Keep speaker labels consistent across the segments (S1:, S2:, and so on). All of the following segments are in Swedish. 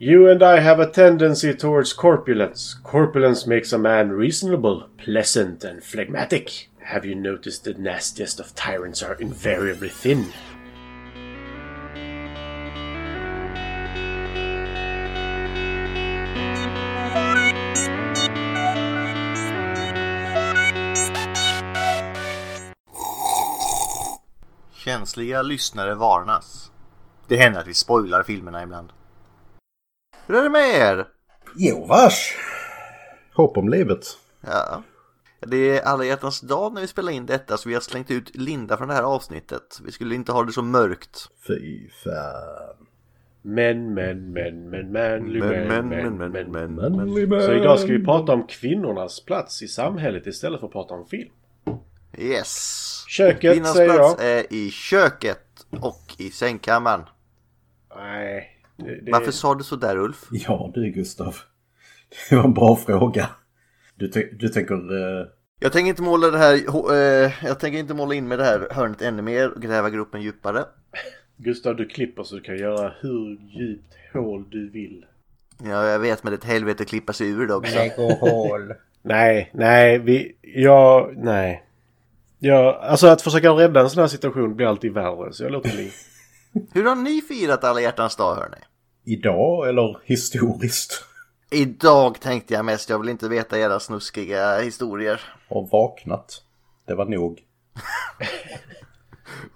S1: You and I have a tendency towards corpulence. Corpulence makes a man reasonable, pleasant, and phlegmatic. Have you noticed the nastiest of tyrants are invariably thin?
S2: Känsliga lyssnare varnas. Det händer att vi spoilar filmerna ibland. Hur är det med er?
S3: Jo vars! Hopp om livet.
S2: Ja. Det är alla hjärtans dag när vi spelar in detta så vi har slängt ut Linda från det här avsnittet. Vi skulle inte ha det så mörkt.
S3: Fy fan.
S1: Men, men, men, men, manly, men, men, men, men, men.
S3: Manly man.
S1: Så idag ska vi prata om kvinnornas plats i samhället istället för att prata om film.
S2: Yes!
S1: Köket,
S2: Kvinnans
S1: säger
S2: plats
S1: jag.
S2: är i köket och i sängkammaren.
S1: Nej. Det, det...
S2: Varför sa du så där Ulf?
S3: Ja du Gustav. Det var en bra fråga. Du, ty- du tänker... eh,
S2: Jag tänker inte måla det här, ho- eh, jag tänker inte måla in med det här hörnet ännu mer och gräva gropen djupare.
S1: Gustav, du klipper så du kan göra hur djupt hål du vill.
S2: Ja, jag vet men det är ett helvete att klippa sig ur det också.
S4: Lägg och hål.
S1: Nej, nej, vi... Jag... Nej. Jag, alltså att försöka rädda en sån här situation blir alltid värre, så jag låter bli.
S2: Hur har ni firat alla hjärtans dag hörni?
S3: idag eller historiskt?
S2: Idag tänkte jag mest, jag vill inte veta era snuskiga historier.
S3: Har vaknat. Det var nog.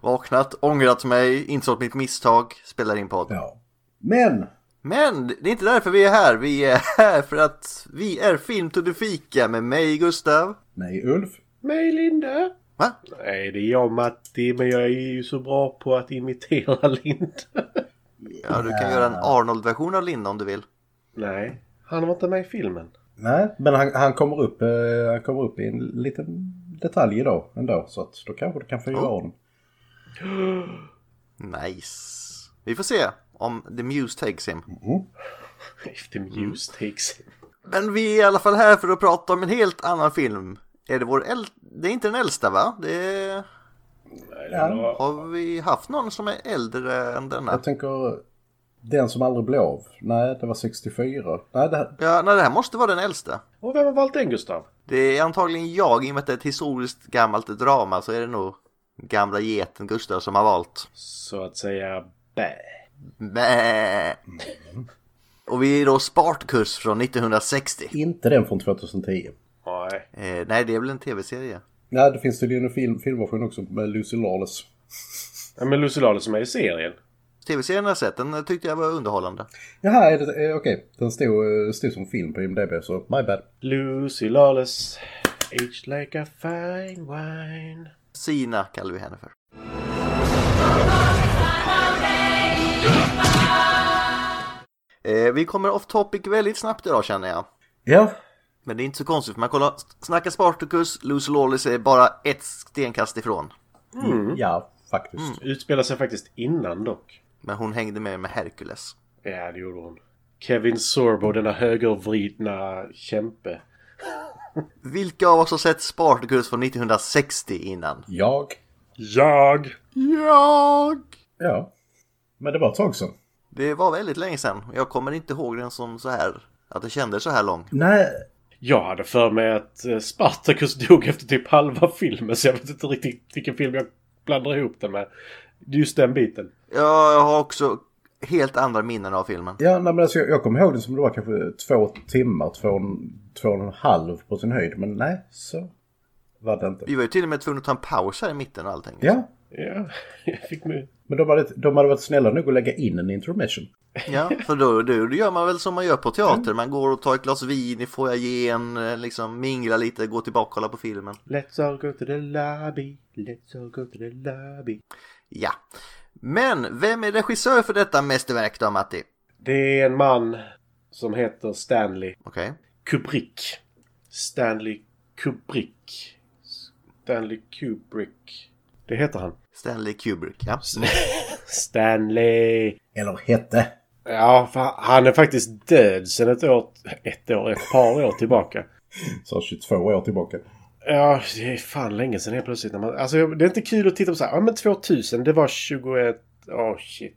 S2: Vaknat, ångrat mig, insåg mitt misstag, spelar in podd.
S3: Ja. Men!
S2: Men det är inte därför vi är här, vi är här för att vi är Film to the Fika med mig Gustav.
S3: Nej Ulf.
S1: Mig, Linda?
S2: Va?
S1: Nej, det är jag, Matti, men jag är ju så bra på att imitera Linda.
S2: Ja, du kan göra en Arnold-version av Linda om du vill.
S1: Nej, han var inte med i filmen.
S3: Nej, men han, han, kommer upp, eh, han kommer upp i en liten detalj idag ändå. Så att då kanske du kan få göra honom.
S2: Nice. Vi får se om The Muse takes him.
S1: If the muse takes it.
S2: Men vi är i alla fall här för att prata om en helt annan film. Är det vår äl... Det är inte den äldsta va? Det...
S3: Ja.
S2: Har vi haft någon som är äldre än denna?
S3: Jag tänker den som aldrig blev av. Nej, det var 64. Nej, det här...
S2: Ja, nej, det här måste vara den äldsta.
S1: Och vem har valt den, Gustav?
S2: Det är antagligen jag, i och med att det är ett historiskt gammalt drama så är det nog gamla geten Gustav som har valt.
S1: Så att säga, bä.
S2: Bäh. Och vi är då Spartkus från 1960.
S3: Inte den från 2010.
S1: Nej.
S2: Eh, nej, det är väl en tv-serie?
S3: Nej, det finns tydligen en film, filmversion också med Lucy Lawless.
S1: Ja, men Lucy Lawless som är i serien.
S2: Tv-serien har jag sett, den tyckte jag var underhållande.
S3: Jaha, är det, eh, okej. Den stod, eh, stod som film på IMDB, så my bad.
S1: Lucy Lawless, aged like a fine wine.
S2: Sina kallar vi henne för. Eh, vi kommer off topic väldigt snabbt idag känner jag.
S3: Ja.
S2: Men det är inte så konstigt för man kollar, snacka Spartacus, Lucy Lawless är bara ett stenkast ifrån.
S3: Mm. Ja, faktiskt.
S1: Utspelar sig faktiskt innan dock.
S2: Men hon hängde med med Hercules.
S1: Ja, det gjorde hon. Kevin Sorbo, denna högervridna kämpe.
S2: Vilka av oss har sett Spartacus från 1960 innan?
S3: Jag.
S1: Jag!
S2: Jag!
S3: Ja. Men det var ett tag sedan.
S2: Det var väldigt länge sedan. Jag kommer inte ihåg den som så här, att det kändes så här lång.
S3: Nej.
S1: Jag hade för mig att eh, Spartacus dog efter typ halva filmen så jag vet inte riktigt vilken film jag blandar ihop den med. Det är Just den biten.
S2: Jag har också helt andra minnen av filmen.
S3: Ja, nej, men alltså, jag, jag kommer ihåg det som det var kanske två timmar, två, och en- två och en halv på sin höjd. Men nej, så var det inte.
S2: Vi var ju till och med tvungna att ta en paus här i mitten och allting.
S3: Ja,
S1: Ja, jag fick mig...
S3: men de hade, de hade varit snälla nog att lägga in en intermission.
S2: Ja, för då, då, då gör man väl som man gör på teater. Man går och tar ett glas vin i foajén, eh, liksom minglar lite, går tillbaka och kollar på filmen.
S1: Let's all go to the lobby, let's all go to the lobby.
S2: Ja. Men vem är regissör för detta mästerverk då, Matti?
S1: Det är en man som heter Stanley
S2: Okej.
S1: Kubrick. Stanley Kubrick. Stanley Kubrick. Det heter han.
S2: Stanley Kubrick, ja.
S1: Stanley
S3: Eller hette.
S1: Ja, för han är faktiskt död sedan ett år, ett år, ett par år tillbaka.
S3: Så 22 år tillbaka.
S1: Ja, det är fan länge sedan helt plötsligt. När man, alltså, det är inte kul att titta på så här, ja men 2000, det var 21, åh shit.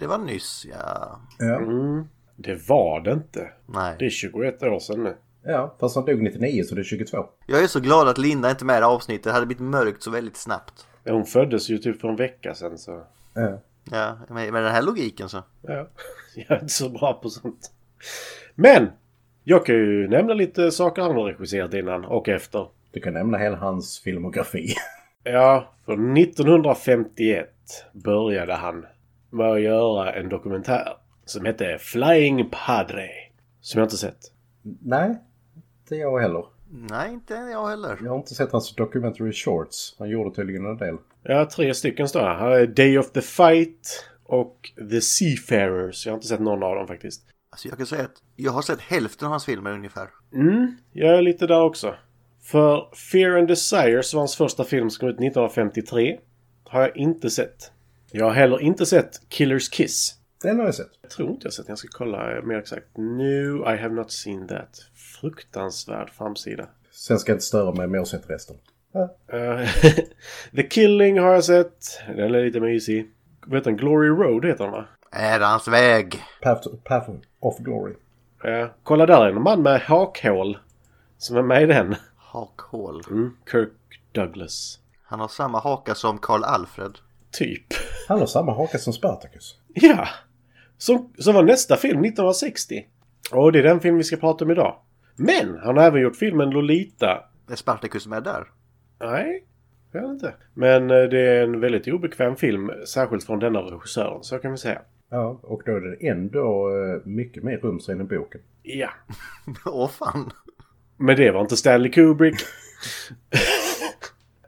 S2: Det var nyss, ja.
S3: Ja.
S1: Mm. Det var det inte. Det
S2: Nej.
S1: är 21 år sedan nu.
S3: Ja, fast han dog 99 så det är 22.
S2: Jag är så glad att Linda inte är med i det här avsnittet. Det hade blivit mörkt så väldigt snabbt.
S1: Ja, Hon föddes ju typ för en vecka sedan så...
S3: Ja.
S2: Ja, med, med den här logiken så.
S1: Ja, jag är inte så bra på sånt. Men! Jag kan ju nämna lite saker han har regisserat innan och efter.
S3: Du kan nämna hela hans filmografi.
S1: Ja, för 1951 började han med att göra en dokumentär som hette Flying Padre. Som jag inte sett.
S3: Nej, inte jag heller.
S2: Nej, inte jag heller.
S3: Jag har inte sett hans documentary shorts. Han gjorde tydligen en del.
S1: Ja, tre stycken står här. Här är Day of the Fight och The Seafarers. Jag har inte sett någon av dem faktiskt.
S2: Alltså jag kan säga att jag har sett hälften av hans filmer ungefär.
S1: Mm, jag är lite där också. För Fear and Desires var hans första film som kom ut 1953. Har jag inte sett. Jag har heller inte sett Killers Kiss.
S3: Den har jag sett.
S1: Jag tror inte jag sett den. Jag ska kolla mer exakt. Nu, I have not seen that. Fruktansvärd framsida.
S3: Sen ska jag inte störa mig om jag har sett resten. Ja.
S1: Eh, The Killing har jag sett. Den är lite mysig. Vad heter den? Glory Road heter den va?
S2: Ärans väg!
S3: Path, to, Path of Glory.
S1: Eh, kolla där, en man med hakhål. Som är med i den.
S2: Hakhål.
S1: Mm. Kirk Douglas.
S2: Han har samma haka som Karl Alfred.
S1: Typ.
S3: Han har samma haka som Spartacus.
S1: Ja! Som, som var nästa film 1960. Och det är den film vi ska prata om idag. Men han har även gjort filmen Lolita.
S2: Är Spartacus med där?
S1: Nej, det är han inte. Men eh, det är en väldigt obekväm film, särskilt från denna regissören, så kan vi säga.
S3: Ja, och då är det ändå eh, mycket mer rumsren än boken.
S1: Ja.
S2: Åh fan!
S1: Men det var inte Stanley Kubrick.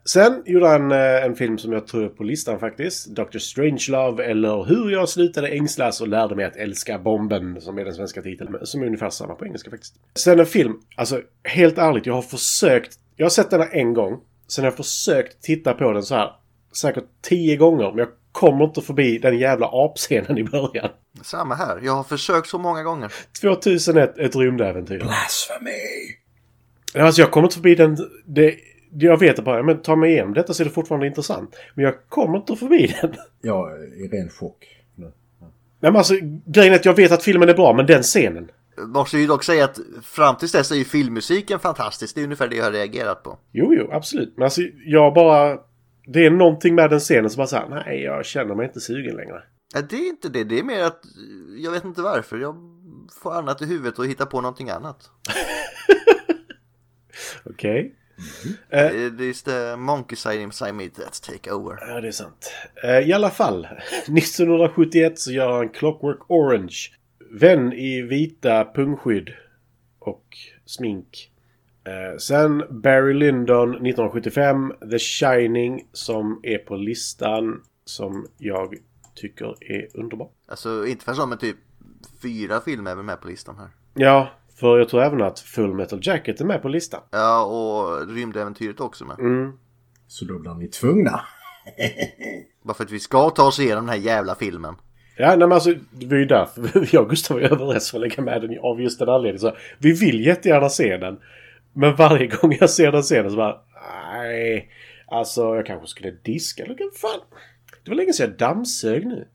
S1: Sen gjorde han eh, en film som jag tror är på listan faktiskt. Dr. Strangelove eller Hur jag slutade ängslas och lärde mig att älska bomben som är den svenska titeln. Som är ungefär samma på engelska faktiskt. Sen en film, alltså helt ärligt, jag har försökt. Jag har sett den här en gång. Sen har jag försökt titta på den så här säkert tio gånger. Men jag kommer inte förbi den jävla apscenen i början.
S2: Samma här. Jag har försökt så många gånger.
S1: 2001, ett rymdäventyr.
S3: Blasphemy!
S1: Alltså jag kommer inte förbi den... Det, jag vet att bara, men ta mig igenom detta så är det fortfarande intressant. Men jag kommer inte förbi den.
S3: Jag är eh, i ren chock nu.
S1: Nej men alltså grejen är att jag vet att filmen är bra, men den scenen.
S2: Måste ju dock säga att fram tills dess är ju filmmusiken fantastisk. Det är ungefär det jag har reagerat på.
S1: Jo, jo, absolut. Men alltså jag bara... Det är någonting med den scenen som bara såhär, nej jag känner mig inte sugen längre.
S2: Ja, det är inte det. Det är mer att jag vet inte varför. Jag får annat i huvudet och hittar på någonting annat.
S1: Okej.
S2: Eh, It is the monkey side inside me that's take over.
S1: Ja, det är sant. Eh, I alla fall. 1971 så gör han Clockwork Orange. Vän i vita pungskydd och smink. Eh, Sen Barry Lyndon 1975, The Shining, som är på listan som jag tycker är underbar.
S2: Alltså inte förrän men typ fyra filmer är väl med på listan här.
S1: Ja, för jag tror även att Full Metal Jacket är med på listan.
S2: Ja, och rymdäventyret också med.
S1: Mm.
S3: Så då blir ni tvungna.
S2: Bara för att vi ska ta oss igenom den här jävla filmen.
S1: Ja, nej men alltså, det var ju därför jag och Gustav var överens om att lägga med den av just den anledningen. Så vi vill jättegärna se den. Men varje gång jag ser den scenen så bara... Nej. Alltså, jag kanske skulle diska eller vad fan. Det var länge sedan jag dammsög nu.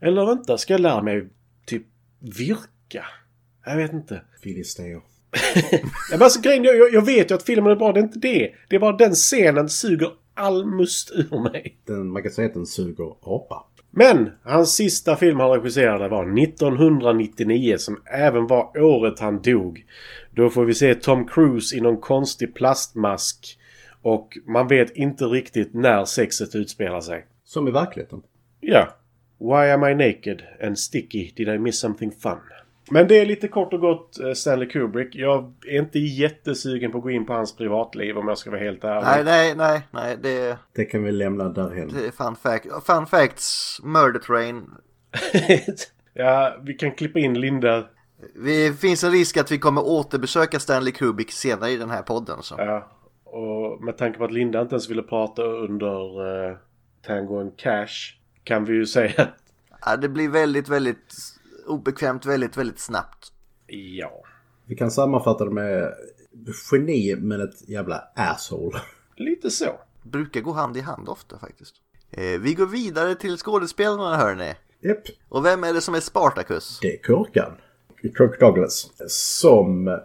S1: Eller vänta, ska jag lära mig typ virka? Jag vet inte.
S3: Filister.
S1: Ja, men alltså, grejen, är- jag, jag vet ju att filmen är bra, det är inte det. Det är bara den scenen suger all must ur mig.
S3: Den, man kan säga att den suger apa.
S1: Men hans sista film han regisserade var 1999 som även var året han dog. Då får vi se Tom Cruise i någon konstig plastmask. Och man vet inte riktigt när sexet utspelar sig.
S3: Som i verkligheten.
S1: Ja. Why am I naked and sticky? Did I miss something fun? Men det är lite kort och gott eh, Stanley Kubrick. Jag är inte jättesugen på att gå in på hans privatliv om jag ska vara helt ärlig.
S2: Nej, nej, nej, nej, det,
S3: Det kan vi lämna därhen.
S2: det är fun, fact, fun facts, murder train.
S1: ja, vi kan klippa in Linda.
S2: Det finns en risk att vi kommer återbesöka Stanley Kubrick senare i den här podden. Så.
S1: Ja, och med tanke på att Linda inte ens ville prata under eh, Tango and Cash kan vi ju säga att
S2: Ja, det blir väldigt, väldigt obekvämt väldigt, väldigt snabbt.
S1: ja,
S3: Vi kan sammanfatta det med geni men ett jävla asshole.
S1: lite så.
S2: Brukar gå hand i hand ofta faktiskt. Eh, vi går vidare till skådespelarna hörni.
S3: Japp,
S2: Och vem är det som är Spartacus?
S3: det är korkan. Kirk Douglas. Som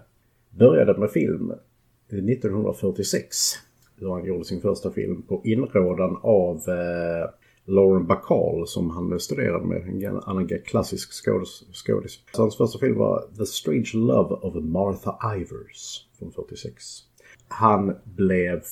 S3: började med film 1946. Då han gjorde sin första film på inrådan av eh, Lauren Bacall som han studerade med. En gammal- annan klassisk skådis. skådis. Så hans första film var The Strange Love of Martha Ivers från 46. Han blev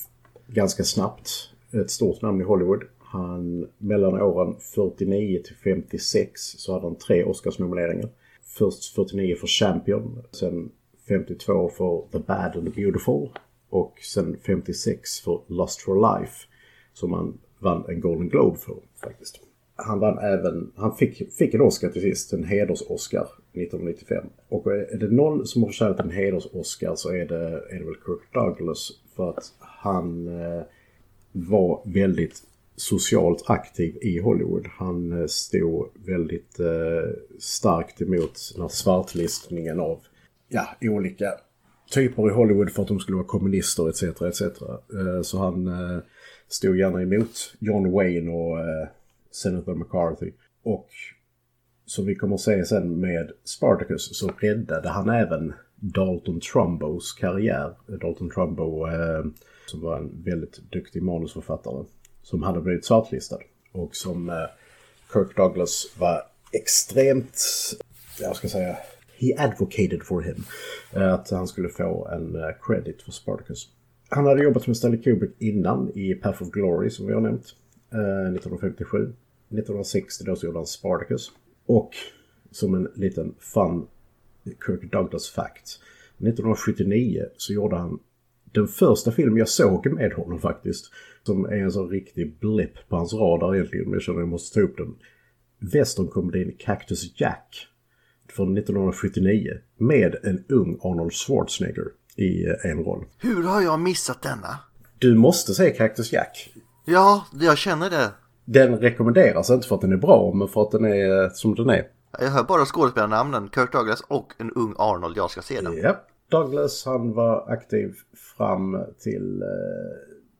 S3: ganska snabbt ett stort namn i Hollywood. Han, mellan åren 49 till 56 så hade han tre Oscarsnomineringar. Först 49 för Champion, sen 52 för The Bad and the Beautiful och sen 56 för Lost for Life som han vann en Golden Globe för faktiskt. Han vann även, han fick, fick en Oscar till sist, en heders-Oscar 1995. Och är det någon som har förtjänat en heders-Oscar så är det, är det väl Kirk Douglas för att han eh, var väldigt socialt aktiv i Hollywood. Han eh, stod väldigt eh, starkt emot den här svartlistningen av ja, olika typer i Hollywood för att de skulle vara kommunister etc. etc. Eh, så han eh, stod gärna emot John Wayne och eh, Senator McCarthy. Och som vi kommer att se sen med Spartacus så räddade han även Dalton Trumbos karriär. Dalton Trumbo eh, som var en väldigt duktig manusförfattare som hade blivit svartlistad och som eh, Kirk Douglas var extremt, jag ska säga, he advocated for him. Eh, att han skulle få en eh, credit för Spartacus. Han hade jobbat med Stanley Kubrick innan i Path of Glory som vi har nämnt. Eh, 1957. 1960 då så gjorde han Spartacus. Och som en liten fun Kirk Douglas fact. 1979 så gjorde han den första film jag såg med honom faktiskt. Som är en sån riktig blipp på hans radar egentligen. Men jag känner att jag måste ta upp den. Westernkomedin Cactus Jack från 1979 med en ung Arnold Schwarzenegger i eh, en roll.
S2: Hur har jag missat denna?
S3: Du måste se Cactus Jack.
S2: Ja, jag känner det.
S3: Den rekommenderas inte för att den är bra, men för att den är eh, som den är.
S2: Jag hör bara skådespelarnamnen Kirk Douglas och en ung Arnold. Jag ska se den.
S3: Ja. Douglas, han var aktiv fram till, eh,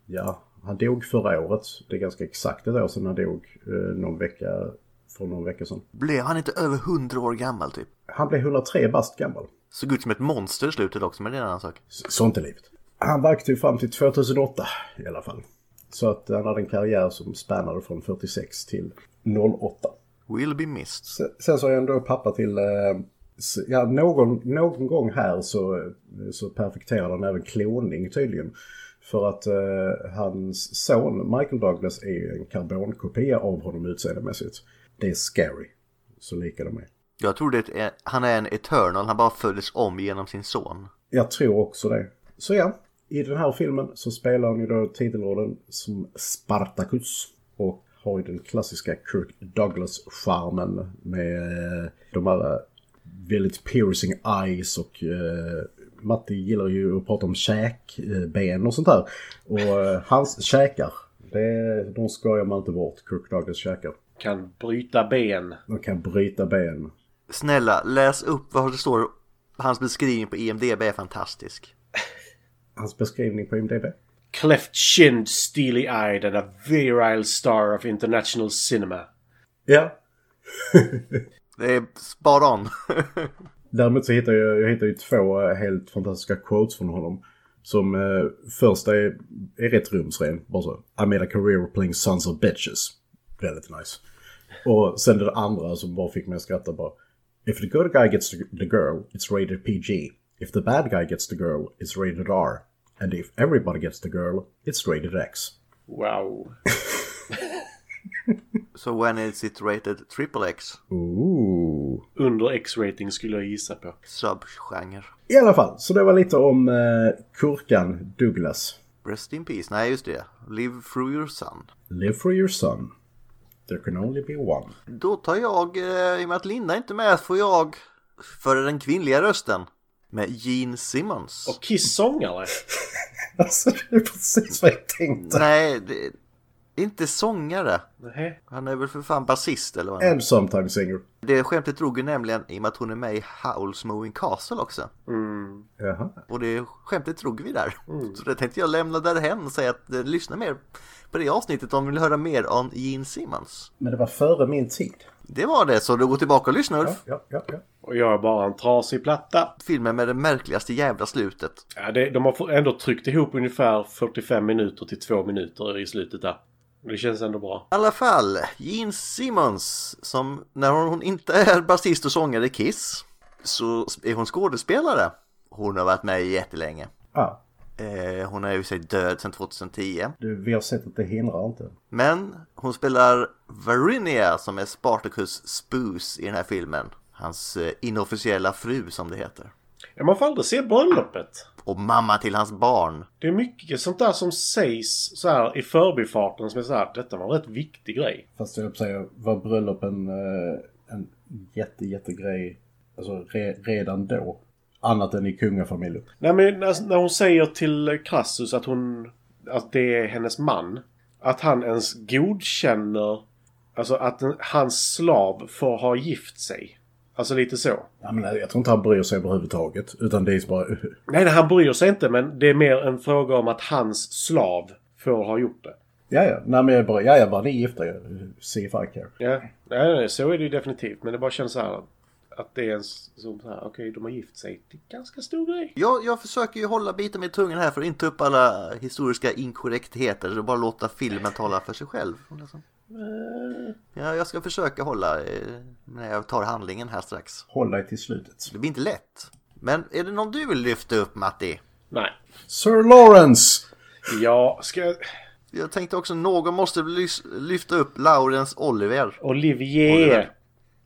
S3: ja, han dog förra året. Det är ganska exakt ett år sedan han dog, eh, någon vecka, för någon vecka sedan.
S2: Blev han inte över 100 år gammal typ?
S3: Han blev 103 bast gammal.
S2: Såg ut som ett monster i slutet också, men det är en annan sak.
S3: Så- Sånt är livet. Han var aktiv fram till 2008 i alla fall. Så att han hade en karriär som spännade från 46 till 08.
S2: Will be missed.
S3: Sen, sen så är jag ändå pappa till... Eh, s- ja, någon, någon gång här så, eh, så perfekterade han även kloning tydligen. För att eh, hans son Michael Douglas är ju en karbonkopia av honom utseendemässigt. Det är scary. Så lika de är.
S2: Jag tror det är, han är en eternal, han bara följs om genom sin son.
S3: Jag tror också det. Så ja, i den här filmen så spelar han ju då titelrollen som Spartacus. Och har ju den klassiska Kirk Douglas-charmen med eh, de här eh, väldigt piercing eyes och eh, Matti gillar ju att prata om käkben och sånt där. Och eh, hans käkar, det, de skojar man inte bort, Kirk Douglas käkar.
S1: Kan bryta ben.
S3: De kan bryta ben.
S2: Snälla, läs upp vad det står. Hans beskrivning på IMDB är fantastisk.
S3: Hans beskrivning på IMDB?
S1: Cleft chinned, steely eyed and a virile star of international cinema.
S3: Ja,
S2: Det är spot on.
S3: Däremot så hittar jag, jag hittar ju två eh, helt fantastiska quotes från honom. Som eh, första är, är rätt rumsren, bara så. I made a career playing sons of bitches. Väldigt nice. Och sen det andra som bara fick mig att skratta bara. If the good guy gets the the girl, it's rated PG. If the bad guy gets the girl, it's rated R. And if everybody gets the girl, it's rated X.
S1: Wow.
S2: so when is it rated triple X?
S3: Ooh.
S1: Under X-rating skulle jag gissa på.
S2: Subgenre.
S3: I alla fall, så det var lite om eh, kurkan Douglas.
S2: Rest in peace. Nej, just det. Live through your son.
S3: Live for your son. There can only be one.
S2: Då tar jag, eh, i och med att Linda inte är med, får jag för den kvinnliga rösten med Gene Simmons.
S1: Och Kiss-sångare.
S3: Alltså det är precis vad jag tänkte.
S2: Nej, det, inte sångare.
S1: Nähä.
S2: Han är väl för fan basist eller vad han är.
S3: And Mm. sometimes singer.
S2: Det skämtet drog ju nämligen i och med att hon är med i Howl's Moving Castle också.
S1: Mm.
S3: Jaha.
S2: Och det skämtet drog vi där. Så det tänkte jag lämna därhen och säga att eh, lyssna mer på det avsnittet om ni vill höra mer om Gene Simmons.
S3: Men det var före min tid.
S2: Det var det, så du går tillbaka och lyssnar Ulf.
S3: Ja, ja, ja.
S1: Och jag är bara en trasig platta.
S2: Filmen med det märkligaste jävla slutet.
S1: Ja, det, de har få- ändå tryckt ihop ungefär 45 minuter till 2 minuter i slutet där. Det känns ändå bra.
S2: I alla fall, Gene Simmons, som när hon inte är basist och sångare i Kiss, så är hon skådespelare. Hon har varit med jättelänge.
S3: Ah,
S2: Eh, hon är ju sig död sedan 2010.
S3: du, vi har sett att det hindrar inte.
S2: Men hon spelar Varinia som är Spartacus Spoos i den här filmen. Hans eh, inofficiella fru som det heter.
S1: Ja, man får aldrig se bröllopet.
S2: Och mamma till hans barn.
S1: Det är mycket sånt där som sägs så här i förbifarten som är så här, detta var en rätt viktig grej.
S3: Fast jag höll på att säga, var bröllop en, eh, en jätte, jättegrej alltså, re, redan då? Annat än i kungafamiljen.
S1: Nej men när, när hon säger till Crassus att hon... Att det är hennes man. Att han ens godkänner... Alltså att en, hans slav får ha gift sig. Alltså lite så.
S3: Ja, men jag tror inte han bryr sig överhuvudtaget. Utan det är bara...
S1: Nej, nej han bryr sig inte men det är mer en fråga om att hans slav får ha gjort det.
S3: Ja, ja. Nej, men jag bara... Ja, ja, var ni gifta? See if I care.
S1: Ja, nej, nej, så är det ju definitivt. Men det bara känns så här att det är en s- som så här, okej, de har gift sig. Det är en ganska stor grej.
S2: Jag, jag försöker ju hålla biten med tungan här för att inte ta upp alla historiska inkorrektheter och bara låta filmen tala för sig själv. Liksom. Ja, jag ska försöka hålla eh, när jag tar handlingen här strax.
S3: Håll dig till slutet.
S2: Det blir inte lätt. Men är det någon du vill lyfta upp Matti?
S1: Nej.
S3: Sir Lawrence!
S1: Ja, ska jag...
S2: Jag tänkte också någon måste lys- lyfta upp Laurens Oliver.
S1: Olivier.
S2: Oliver.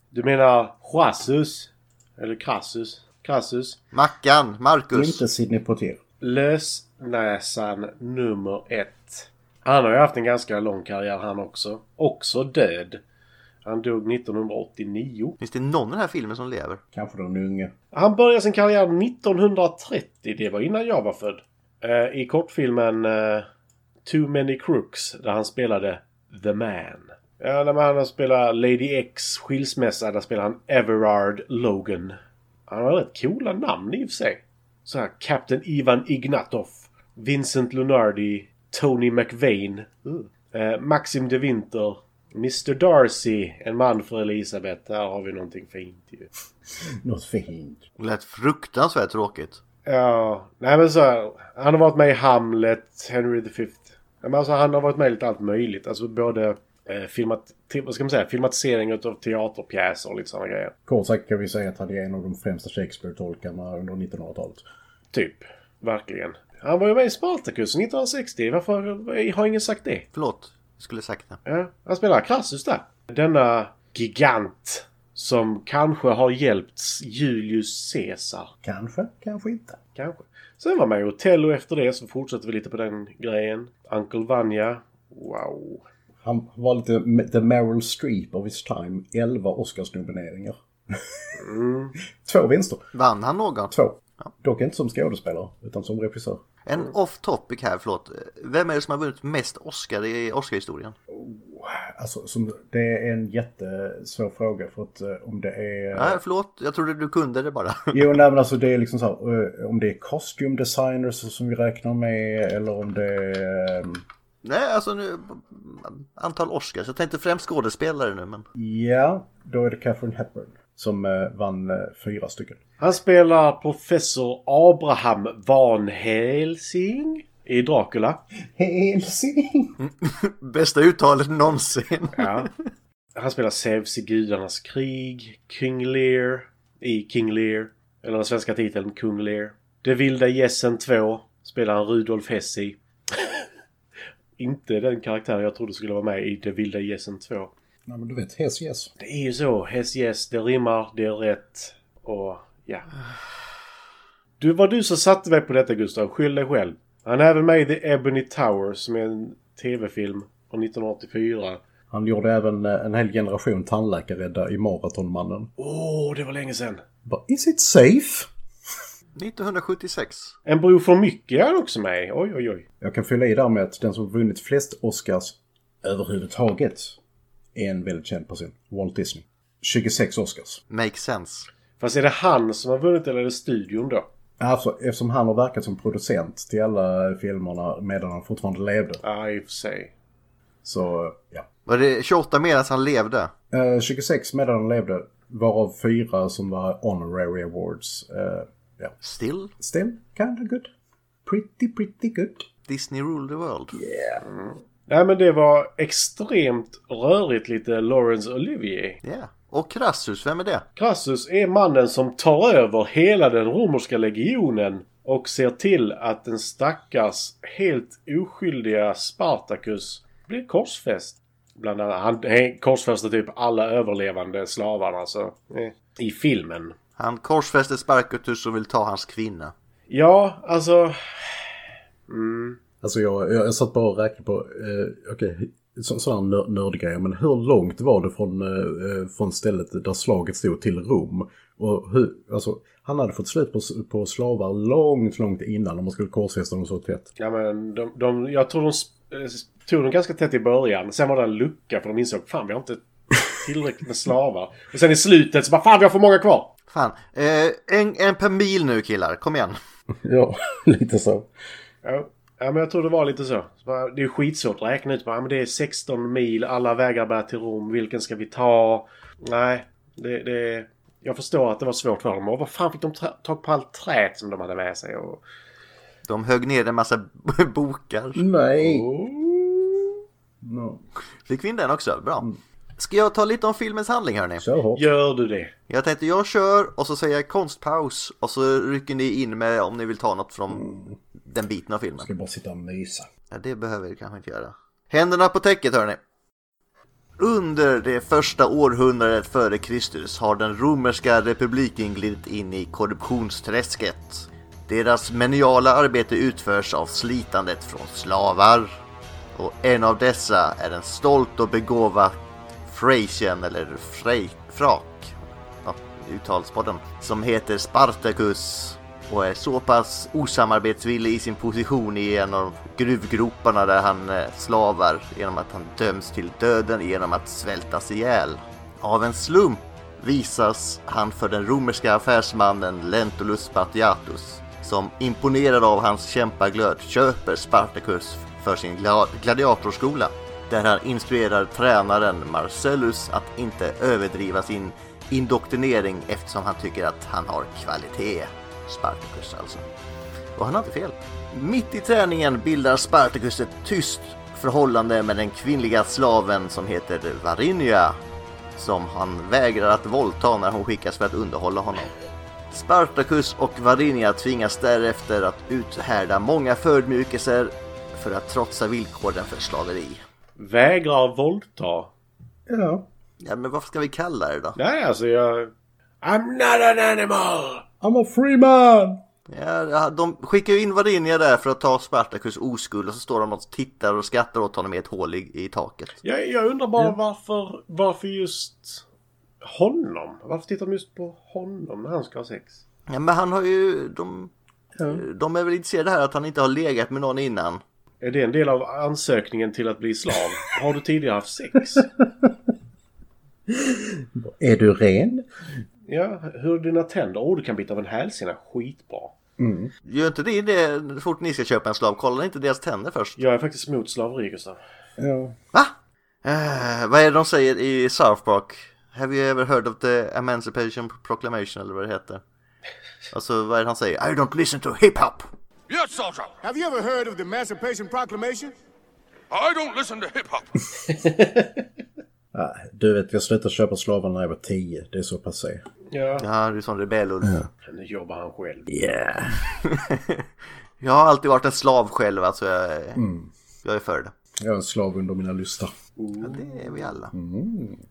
S1: Du menar Chassus? Eller Crassus? Crassus.
S2: Mackan, Marcus.
S3: Inte Sidney Poitier.
S1: Lösnäsan nummer ett. Han har ju haft en ganska lång karriär han också. Också död. Han dog 1989.
S2: Finns det någon i den här filmen som lever?
S3: Kanske den unge.
S1: Han började sin karriär 1930. Det var innan jag var född. Eh, I kortfilmen eh, Too Many Crooks där han spelade The Man. Ja, när han spelar Lady X skilsmässa där spelar han Everard Logan. Han har rätt coola namn i och för sig. Så här Captain Ivan Ignatov, Vincent Lunardi, Tony McVeigh, eh, Maxim de Winter, Mr Darcy, En man för Elisabeth. Där har vi någonting fint ju.
S3: Något fint.
S2: Det lät fruktansvärt tråkigt.
S1: Ja, nej men så här, Han har varit med i Hamlet, Henry V. Nej, Men alltså, han har varit med i lite allt möjligt. Alltså både eh, filmat, te- vad ska man säga, filmatisering av teaterpjäser och lite sådana grejer.
S3: Kort sagt kan vi säga att han är en av de främsta Shakespeare-tolkarna under 1900-talet.
S1: Typ. Verkligen. Han var ju med i Spartacus 1960. Varför eh, har ingen sagt det?
S2: Förlåt, jag skulle sagt det.
S1: Ja, han spelar Crassus där. Denna gigant som kanske har hjälpt Julius Caesar.
S3: Kanske, kanske inte.
S1: Kanske. Sen var man ju Otello efter det så fortsatte vi lite på den grejen. Uncle Vanya. Wow.
S3: Han var lite the Meryl Streep of his time. 11 Oscarsnomineringar. Två vinster.
S2: Vann han någon?
S3: Två. Dock inte som skådespelare, utan som regissör.
S2: En off topic här, förlåt. Vem är det som har vunnit mest Oscar i Oscarhistorien?
S3: Alltså, som, det är en jättesvår fråga för att eh, om det är...
S2: Nej, förlåt. Jag trodde du kunde det bara.
S3: Jo, nej men alltså det är liksom så här, eh, om det är costume designers som vi räknar med eller om det är... eh,
S2: Nej, alltså nu... Antal Oscars. Jag tänkte främst skådespelare nu, men...
S3: Ja, då är det Catherine Hepburn som eh, vann eh, fyra stycken.
S1: Han spelar professor Abraham Van Helsing i Dracula.
S3: Helsing!
S2: Bästa uttalet någonsin.
S1: Ja. Han spelar Zeus i Gudarnas krig, King Lear i King Lear. Eller den svenska titeln Kung Lear. Det vilda gässen 2 spelar han Rudolf Hess i. Inte den karaktär jag trodde skulle vara med i Det vilda gässen 2.
S3: Nej men du vet, Hes yes.
S1: Det är ju så. Hess yes, det rimmar, det är rätt och ja. Du var du som satte mig på detta Gustav. Skyll dig själv. Han är även med i The Ebony Tower som är en tv-film från 1984.
S3: Han gjorde även eh, en hel generation tandläkarrädda i Maratonmannen.
S1: Åh, det var länge sedan.
S3: Bara, Is it safe?
S2: 1976.
S1: En bro för mycket är han också med i. Oj, oj, oj.
S3: Jag kan fylla i där med att den som vunnit flest Oscars överhuvudtaget är en väldigt känd person. Walt Disney. 26 Oscars.
S2: Makes sense.
S1: Fast är det han som har vunnit eller är det studion då?
S3: Alltså, eftersom han har verkat som producent till alla filmerna medan han fortfarande levde.
S1: Ja, i och för sig.
S3: Så, ja.
S2: Var det 28 medan han levde?
S3: Eh, 26 medan han levde, varav fyra som var honorary awards. Eh, ja.
S2: Still?
S3: Still kinda good. Pretty, pretty good.
S2: Disney ruled the world.
S1: Nej men det var extremt rörigt lite Laurence Olivier.
S2: Yeah. Och Crassus, vem är det?
S1: Crassus är mannen som tar över hela den romerska legionen och ser till att den stackars helt oskyldiga Spartacus blir korsfäst. Bland annat, han han korsfäster typ alla överlevande slavarna så, eh, i filmen.
S2: Han korsfäster Sparkutus och vill ta hans kvinna.
S1: Ja, alltså... Mm.
S3: Alltså jag, jag, jag satt bara och räknade på, eh, okej, så, sådana här nör- nördgrejer, men hur långt var det från, eh, eh, från stället där slaget stod till Rom? Och hur, alltså, han hade fått slut på, s- på slavar långt, långt innan om man skulle korsfästa dem så tätt.
S1: Ja, men de, de, jag tror de sp- eh, tog dem ganska tätt i början. Sen var det en lucka för de insåg fan vi har inte tillräckligt med slavar. Och sen i slutet så bara fan vi har för många kvar.
S2: Fan, eh, en, en per mil nu killar, kom igen.
S3: Ja, lite så.
S1: Ja, ja men jag tror det var lite så. Så bara, Det är skitsvårt att räkna ut. Bara, ja, men det är 16 mil, alla vägar bär till Rom. Vilken ska vi ta? Nej, det... det jag förstår att det var svårt för dem. Och vad fan fick de ta- tag på allt träet som de hade med sig? Och...
S2: De högg ner en massa bokar.
S3: Nej.
S1: Oh.
S3: No.
S2: Fick vi in den också? Bra. Ska jag ta lite om filmens handling hörni?
S3: Kör hårt.
S1: Gör du det?
S2: Jag tänkte jag kör och så säger jag konstpaus och så rycker ni in med om ni vill ta något från den biten av filmen.
S3: Ska bara sitta och mysa.
S2: Ja, det behöver vi kanske inte göra. Händerna på täcket hörni. Under det första århundradet före Kristus har den romerska republiken glidit in i korruptionsträsket. Deras meniala arbete utförs av slitandet från slavar. Och en av dessa är en stolt och begåvad Frasian eller Frej, Frak ja, uttalspodden, som heter Spartacus och är så pass osamarbetsvillig i sin position i en av gruvgroparna där han eh, slavar genom att han döms till döden genom att svältas ihjäl. Av en slump visas han för den romerska affärsmannen Lentulus Spartiatus som imponerad av hans kämpaglöd köper Spartacus för sin gla- gladiatorskola där han instruerar tränaren Marcellus att inte överdriva sin indoktrinering eftersom han tycker att han har kvalitet. Spartacus alltså. Och han hade fel. Mitt i träningen bildar Spartacus ett tyst förhållande med den kvinnliga slaven som heter Varinia som han vägrar att våldta när hon skickas för att underhålla honom. Spartacus och Varinia tvingas därefter att uthärda många förödmjukelser för att trotsa villkoren för slaveri.
S1: Vägrar våldta?
S3: Ja.
S2: Ja, men vad ska vi kalla det då?
S1: Nej, alltså jag... I'm not an animal!
S3: I'm a free man!
S2: Ja, de skickar ju in Varinia där för att ta Spartacus oskuld och så står de och tittar och skrattar åt honom i ett hål i, i taket.
S1: Jag, jag undrar bara varför, varför just honom? Varför tittar de just på honom när han ska ha sex?
S2: Ja, men han har ju... De, de är väl intresserade här att han inte har legat med någon innan.
S1: Är det en del av ansökningen till att bli slav? Har du tidigare haft sex?
S3: Är du ren?
S1: Ja, hur är dina tänder? Åh, du kan bita av en hälsena. Skitbra.
S2: Gör inte ni det fort ni ska köpa en slav? Kollar ni inte deras tänder först?
S1: Jag är faktiskt mot slaveri, Gustav.
S3: Ja.
S2: Va? Eh, vad är det de säger i South Park? Have you ever heard of the Emancipation Proclamation eller vad det heter? Alltså vad är det han säger? I don't listen to hip-hop!
S4: Yes, Sergeant.
S5: Have you ever heard of the Emancipation Proclamation?
S4: I don't listen to hip hop.
S3: Ah, Du vet, jag slutade köpa slavar när jag var 10. Det är så passé.
S1: Ja.
S2: Ja, du är sån rebell Ulf.
S1: Nu jobbar han själv.
S3: Yeah.
S2: Jag har alltid varit en slav själv, alltså jag, är- jag är för det.
S3: Jag är en slav under mina lustar.
S2: Ja, det är vi alla.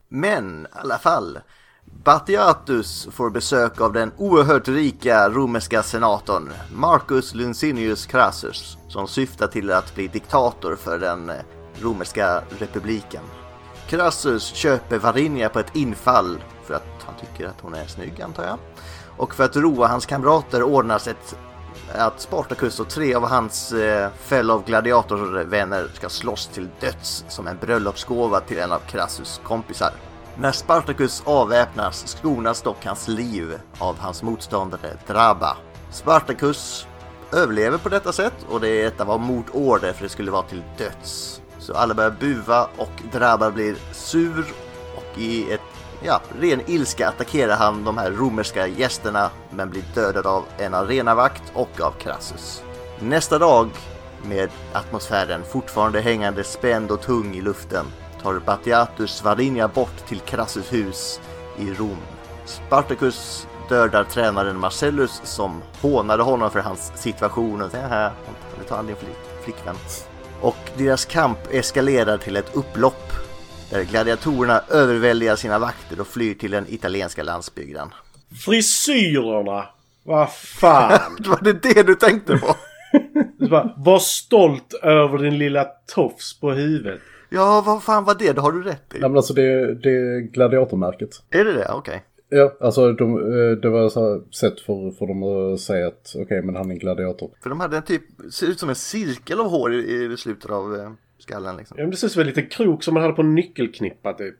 S2: Men i alla fall. Batiatus får besök av den oerhört rika romerska senatorn Marcus Lincinius Crassus som syftar till att bli diktator för den eh, romerska republiken. Crassus köper Varinia på ett infall för att han tycker att hon är snygg antar jag. Och för att roa hans kamrater ordnas ett att Spartacus och tre av hans eh, fellow gladiatorvänner ska slåss till döds som en bröllopsgåva till en av Crassus kompisar. När Spartacus avväpnas skonas dock hans liv av hans motståndare Draba. Spartacus överlever på detta sätt och det, detta var mordorder för det skulle vara till döds. Så alla börjar buva och Drabar blir sur och i ett ja, ren ilska attackerar han de här romerska gästerna men blir dödad av en arenavakt och av Crassus. Nästa dag, med atmosfären fortfarande hängande spänd och tung i luften, tar Batiatus Varinia bort till Crassus hus i Rom. Spartacus dödar tränaren Marcellus som hånade honom för hans situation och säger här, det tar han din flick- flickvän. Och deras kamp eskalerar till ett upplopp där gladiatorerna överväldigar sina vakter och flyr till den italienska landsbygden.
S1: Frisyrerna! Vad fan!
S2: Var det det du tänkte på?
S1: Du bara, Var stolt över din lilla tofs på huvudet.
S2: Ja, vad fan var det? Det har du rätt i.
S3: Nej men alltså det, det är gladiatormärket.
S2: Är det det? Okej.
S3: Ja, alltså de, eh, det var så här sätt för, för dem att säga att okej men han är en gladiator.
S2: För de hade en typ, ser ut som en cirkel av hår i, i slutet av eh, skallen liksom.
S1: Ja, men Det ser ut som en liten krok som man hade på en nyckelknippa typ.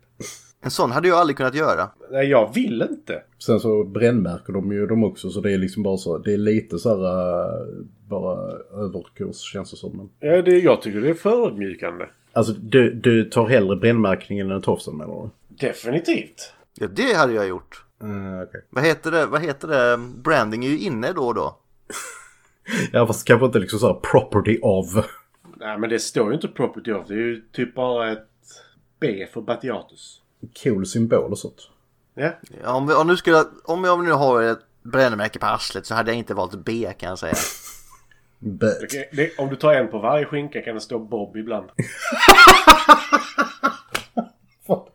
S2: En sån hade jag aldrig kunnat göra.
S1: Nej, jag vill inte.
S3: Sen så brännmärker de ju dem också så det är liksom bara så. Det är lite så här eh, bara överkurs känns det som. Men,
S1: Ja, det, jag tycker det är förödmjukande.
S3: alltså du, du tar hellre brännmärkningen än tofsen menar du?
S1: Definitivt.
S2: Ja, det hade jag gjort.
S3: Uh,
S2: Vad heter det? Vad heter det? Branding är ju inne då och då.
S3: Ja fast kanske inte liksom så här property of.
S1: Nej, men det står ju inte property of. Det är ju typ bara ett B för Batiatus.
S3: Cool symbol och sånt.
S1: Ja,
S2: Ja, om, vi, om, nu skulle, om jag nu har ett brännmärke på arslet så hade jag inte valt B kan jag säga.
S3: But.
S1: det, det, om du tar en på varje skinka kan det stå Bob ibland.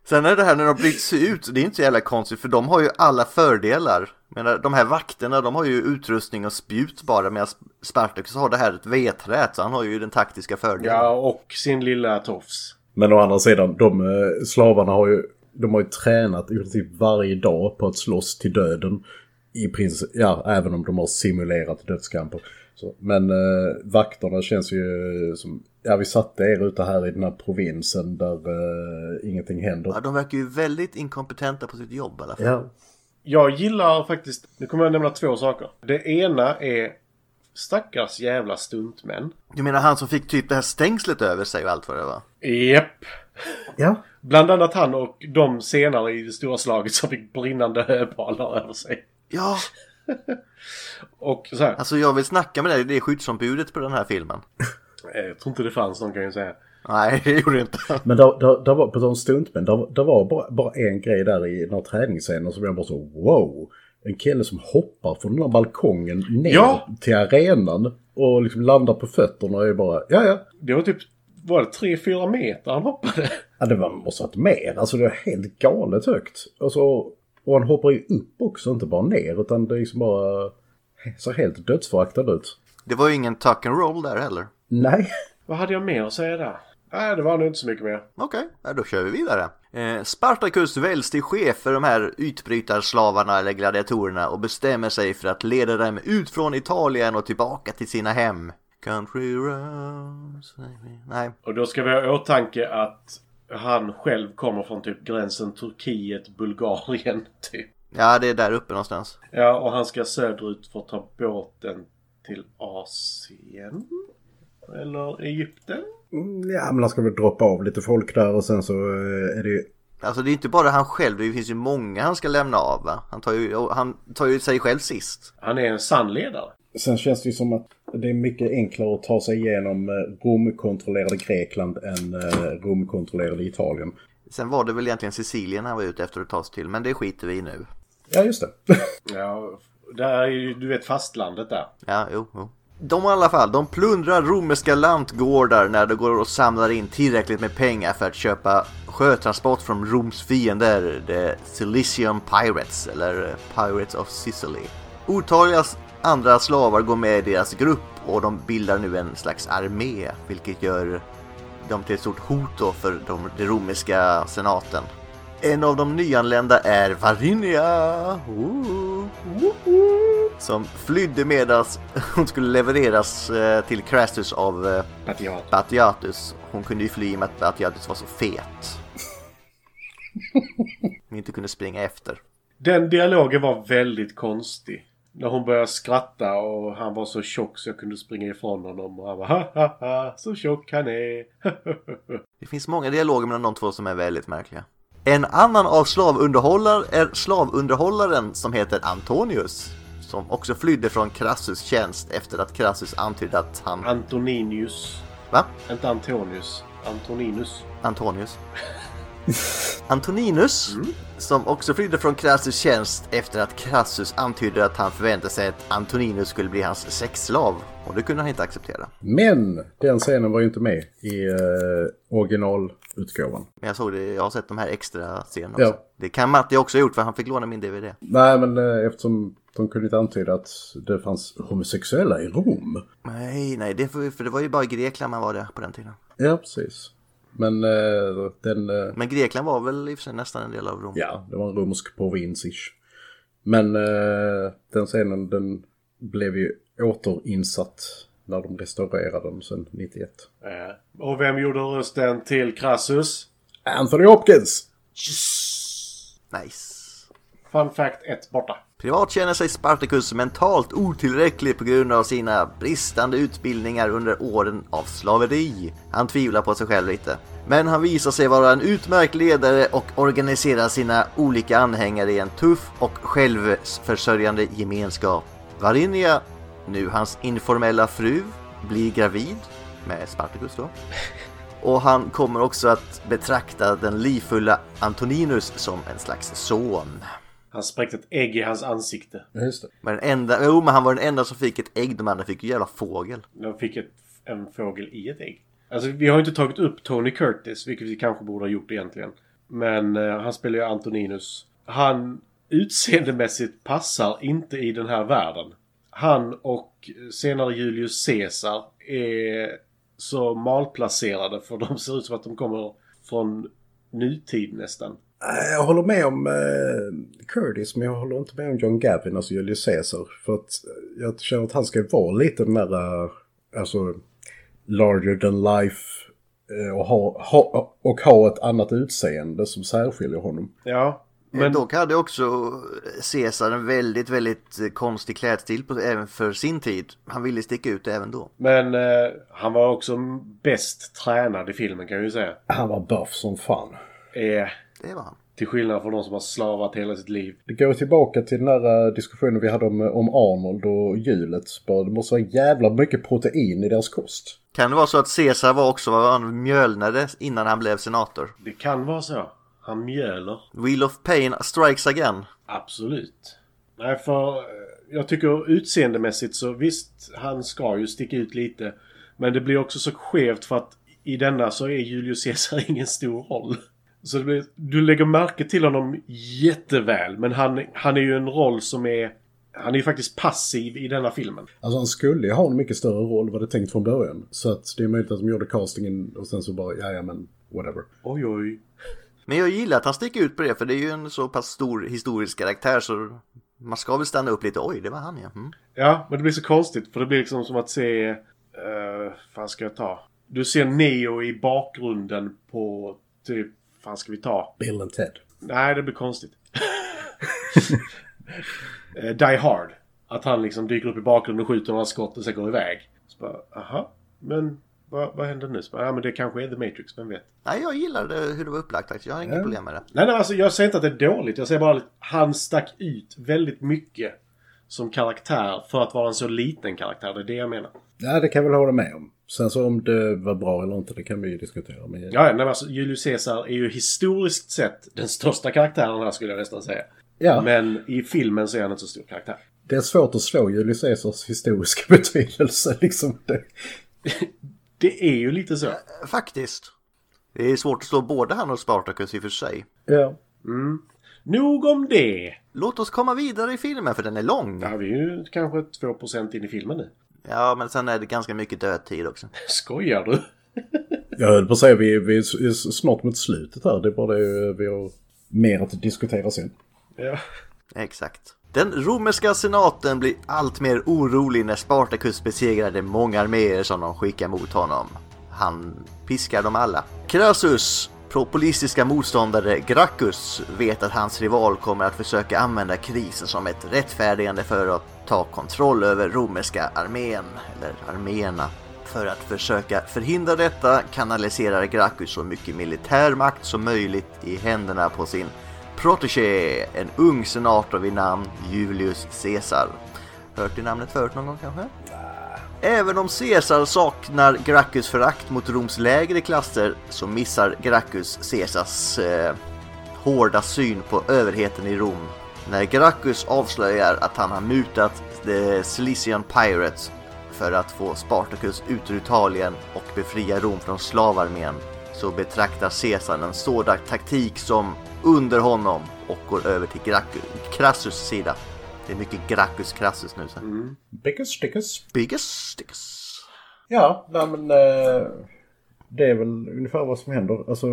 S2: Sen är det här när de bryts ut, det är inte så jävla konstigt för de har ju alla fördelar. Men de här vakterna, de har ju utrustning och spjut bara medan Spartacus har det här ett vedträt så han har ju den taktiska fördelen.
S1: Ja, och sin lilla tofs.
S3: Men å andra sidan, de eh, slavarna har ju, de har ju tränat i princip varje dag på att slåss till döden. I princip, ja, även om de har simulerat dödskamper. Så, men eh, vakterna känns ju som, ja vi satte er ute här i den här provinsen där eh, ingenting händer.
S2: Ja, de verkar ju väldigt inkompetenta på sitt jobb i alla fall.
S3: Ja.
S1: Jag gillar faktiskt... Nu kommer jag nämna två saker. Det ena är stackars jävla stuntmän.
S2: Du menar han som fick typ det här stängslet över sig och allt vad det var?
S1: Japp.
S3: ja.
S1: Bland annat han och de senare i det stora slaget som fick brinnande höbalar över sig.
S2: Ja,
S1: Och så här,
S2: alltså jag vill snacka med dig, det är skyddsombudet på den här filmen.
S1: eh, jag tror inte det fanns någon kan jag säga.
S2: Nej, det gjorde det inte.
S3: Men där, där, där var, på tal om stuntmän, där, där var bara, bara en grej där i några träningsscener som jag bara så wow. En kille som hoppar från den här balkongen ner
S1: Ja.
S3: till arenan och liksom landar på fötterna och är bara ja ja.
S1: Det var typ... Var det 3-4 meter han hoppade?
S3: ja det var, måste ha varit mer, alltså det var helt galet högt. Alltså, och han hoppar ju upp också, inte bara ner utan det är liksom bara ser helt dödsföraktad ut.
S2: Det var ju ingen tuck and roll där heller.
S3: Nej.
S1: Vad hade jag mer att säga där? Nej, det var nog inte så mycket mer.
S2: Okej, ja, då kör vi vidare. Eh, Spartacus väljs till chef för de här utbrytarslavarna eller gladiatorerna och bestämmer sig för att leda dem ut från Italien och tillbaka till sina hem. Country roads... Nej,
S1: Och då ska vi ha i åtanke att han själv kommer från typ gränsen Turkiet, Bulgarien typ.
S2: ja det är där uppe någonstans.
S1: Ja, och han ska söderut för att ta båten till Asien. Eller Egypten.
S3: Mm, Ja men han ska väl droppa av lite folk där och sen så eh, är det ju
S2: Alltså det är inte bara han själv, det finns ju många han ska lämna av va? Han tar ju, och han tar ju sig själv sist.
S1: Han är en sann ledare.
S3: Sen känns det ju som att det är mycket enklare att ta sig igenom eh, Romkontrollerade Grekland än eh, Romkontrollerade Italien.
S2: Sen var det väl egentligen Sicilien han var ute efter att ta sig till, men det skiter vi i nu.
S3: Ja, just det.
S1: Ja, där är ju, du vet, fastlandet där.
S2: Ja, jo, jo. De i alla fall, de plundrar romerska lantgårdar när det går och samlar in tillräckligt med pengar för att köpa sjötransport från Roms fiender, the Cilician Pirates, eller eh, Pirates of Sicily. Otaliga s- andra slavar går med i deras grupp och de bildar nu en slags armé, vilket gör dem till ett stort hot då för de, den romerska senaten. En av de nyanlända är Varinia. Ooh. Som flydde medan hon skulle levereras eh, till Crassus av eh,
S1: Patiat.
S2: Batiatus. Hon kunde ju fly i och med att Batiatus var så fet. Hon inte kunde springa efter.
S1: Den dialogen var väldigt konstig. När hon började skratta och han var så tjock så jag kunde springa ifrån honom. Och han bara ha ha ha, så tjock han är.
S2: Det finns många dialoger mellan de två som är väldigt märkliga. En annan av slavunderhållare är slavunderhållaren som heter Antonius. Som också flydde från Crassus tjänst efter att Crassus antydde att han...
S1: Antoninius.
S2: Va?
S1: Inte Antonius. Antoninus.
S2: Antonius. Antoninus, som också flydde från Crassus tjänst efter att Crassus antydde att han förväntade sig att Antoninus skulle bli hans sexslav. Och det kunde han inte acceptera.
S3: Men den scenen var ju inte med i eh, originalutgåvan.
S2: Men jag såg det, jag har sett de här extra scenerna
S3: Ja.
S2: också. Det kan Matti också ha gjort för han fick låna min DVD.
S3: Nej, men eh, eftersom de kunde inte antyda att det fanns homosexuella i Rom.
S2: Nej, nej, det, för, för det var ju bara i Grekland man var det på den tiden.
S3: Ja, precis. Men eh, den... eh,
S2: Men Grekland var väl i och för sig nästan en del av Rom.
S3: Ja, det var en romersk provins-ish. Men eh, den scenen den blev ju återinsatt när de restaurerade den sen 91.
S1: Eh, Och vem gjorde rösten till Crassus?
S3: Anthony Hopkins!
S2: Nice.
S1: Fun fact 1 borta.
S2: Privat känner sig Spartacus mentalt otillräcklig på grund av sina bristande utbildningar under åren av slaveri. Han tvivlar på sig själv lite. Men han visar sig vara en utmärkt ledare och organiserar sina olika anhängare i en tuff och självförsörjande gemenskap. Varinia, nu hans informella fru, blir gravid med Spartacus då. Och han kommer också att betrakta den livfulla Antoninus som en slags son.
S1: Han spräckte ett ägg i hans ansikte.
S3: Just det.
S2: Men den enda, jo men han var den enda som fick ett ägg, de andra fick ju jävla fågel.
S1: De fick ett, en fågel i ett ägg. Alltså vi har ju inte tagit upp Tony Curtis, vilket vi kanske borde ha gjort egentligen. Men eh, han spelar ju Antoninus. Han utseendemässigt passar inte i den här världen. Han och senare Julius Caesar är så malplacerade för de ser ut som att de kommer från nutid nästan.
S3: Eh, Jag håller med om eh, Curtis, men jag håller inte med om John Gavin, alltså Julius Caesar. För att eh, jag känner att han ska vara lite den där, eh, alltså, larger than life. eh, Och ha, ha, och ha ett annat utseende som särskiljer honom.
S1: Ja,
S2: Men
S1: men
S2: dock hade också Caesar en väldigt, väldigt eh, konstig klädstil på, även för sin tid. Han ville sticka ut även då.
S1: Men eh, han var också bäst tränad i filmen kan jag ju säga.
S3: Han var buff som fan.
S1: Eh,
S2: Det var han.
S1: till skillnad från de som har slavat hela sitt liv.
S3: Det går tillbaka till den här eh, diskussionen vi hade om, om Arnold och hjulet. Bara, Det måste vara jävla mycket protein i deras kost.
S2: Kan det vara så att Caesar var också vad han mjölnade innan han blev senator?
S1: Det kan vara så. Han mjöler.
S2: Wheel of Pain strikes again.
S1: Absolut. Nej, för eh, jag tycker utseendemässigt så visst, han ska ju sticka ut lite. Men det blir också så skevt för att i denna så är Julius Caesar ingen stor roll. Så det blir, du lägger märke till honom jätteväl. Men han, han är ju en roll som är... Han är ju faktiskt passiv i denna filmen.
S3: Alltså han skulle ju ha en mycket större roll vad det tänkt från början. Så att det är möjligt att de gjorde castingen och sen så bara, ja ja men whatever.
S1: Oj, oj.
S2: Men jag gillar att han sticker ut på det, för det är ju en så pass stor historisk karaktär så man ska väl stanna upp lite. Oj, det var han ja. Mm.
S1: Ja, men det blir så konstigt för det blir liksom som att se... Uh, fan ska jag ta? Du ser Neo i bakgrunden på typ... fan ska vi ta?
S3: Bill and Ted.
S1: Nej, det blir konstigt. Eh, Die Hard. Att han liksom dyker upp i bakgrunden och skjuter några skott och sen går iväg. Så bara, aha. Men vad, vad händer nu? Så bara, ja, men det kanske är The Matrix, vem vet?
S2: Nej, jag gillade hur det var upplagt faktiskt. Jag har inga problem med det.
S1: Nej, nej, alltså jag säger inte att det är dåligt. Jag säger bara att han stack ut väldigt mycket som karaktär för att vara en så liten karaktär. Det är det jag menar.
S3: Ja, det kan jag väl hålla med om. Sen så om det var bra eller inte, det kan vi ju diskutera. Men ja.
S1: Ja, ja, nej, men alltså, Julius Caesar är ju historiskt sett den största karaktären här skulle jag nästan säga. Men i filmen så är han inte så stor karaktär.
S3: det är svårt att slå Julius Caesars historiska betydelse liksom. Det.
S1: Det är ju lite så.
S2: Faktiskt. Det är svårt att slå både han och Spartacus i och för sig.
S3: Ja.
S1: Nog om det!
S2: Låt oss komma vidare i filmen för den är lång.
S1: Ja, vi är ju kanske 2% in i filmen nu.
S2: Ja, men sen är det ganska mycket dödtid också.
S1: Skojar du?
S3: Jag höll på att säga, vi, vi är s- är snart mot slutet här. Det är bara det eh, vi har mer att diskutera sen.
S1: Ja.
S2: Exakt. Den romerska senaten blir allt mer orolig när Spartacus besegrar de många arméer som de skickar mot honom. Han piskar dem alla. Crassus, populistiska motståndare Gracchus, vet att hans rival kommer att försöka använda krisen som ett rättfärdigande för att ta kontroll över romerska armén, eller arméerna. För att försöka förhindra detta kanaliserar Gracchus så mycket militär makt som möjligt i händerna på sin protege, en ung senator vid namn Julius Caesar. Hört det namnet förut någon gång kanske? Även om Caesar saknar Gracchus förakt mot Roms lägre klasser så missar Gracchus Caesars eh, hårda syn på överheten i Rom när Gracchus avslöjar att han har mutat The Cilician Pirates för att få Spartacus ut ur Italien och befria Rom från slavarmén så betraktar Caesar en sådan taktik som under honom och går över till Gracchus, Crassus sida. Det är mycket Gracchus Crassus nu. Så.
S3: Bickus, stickus.
S2: Biggest sticks.
S3: Ja, nej men... eh, det är väl ungefär vad som händer. Alltså,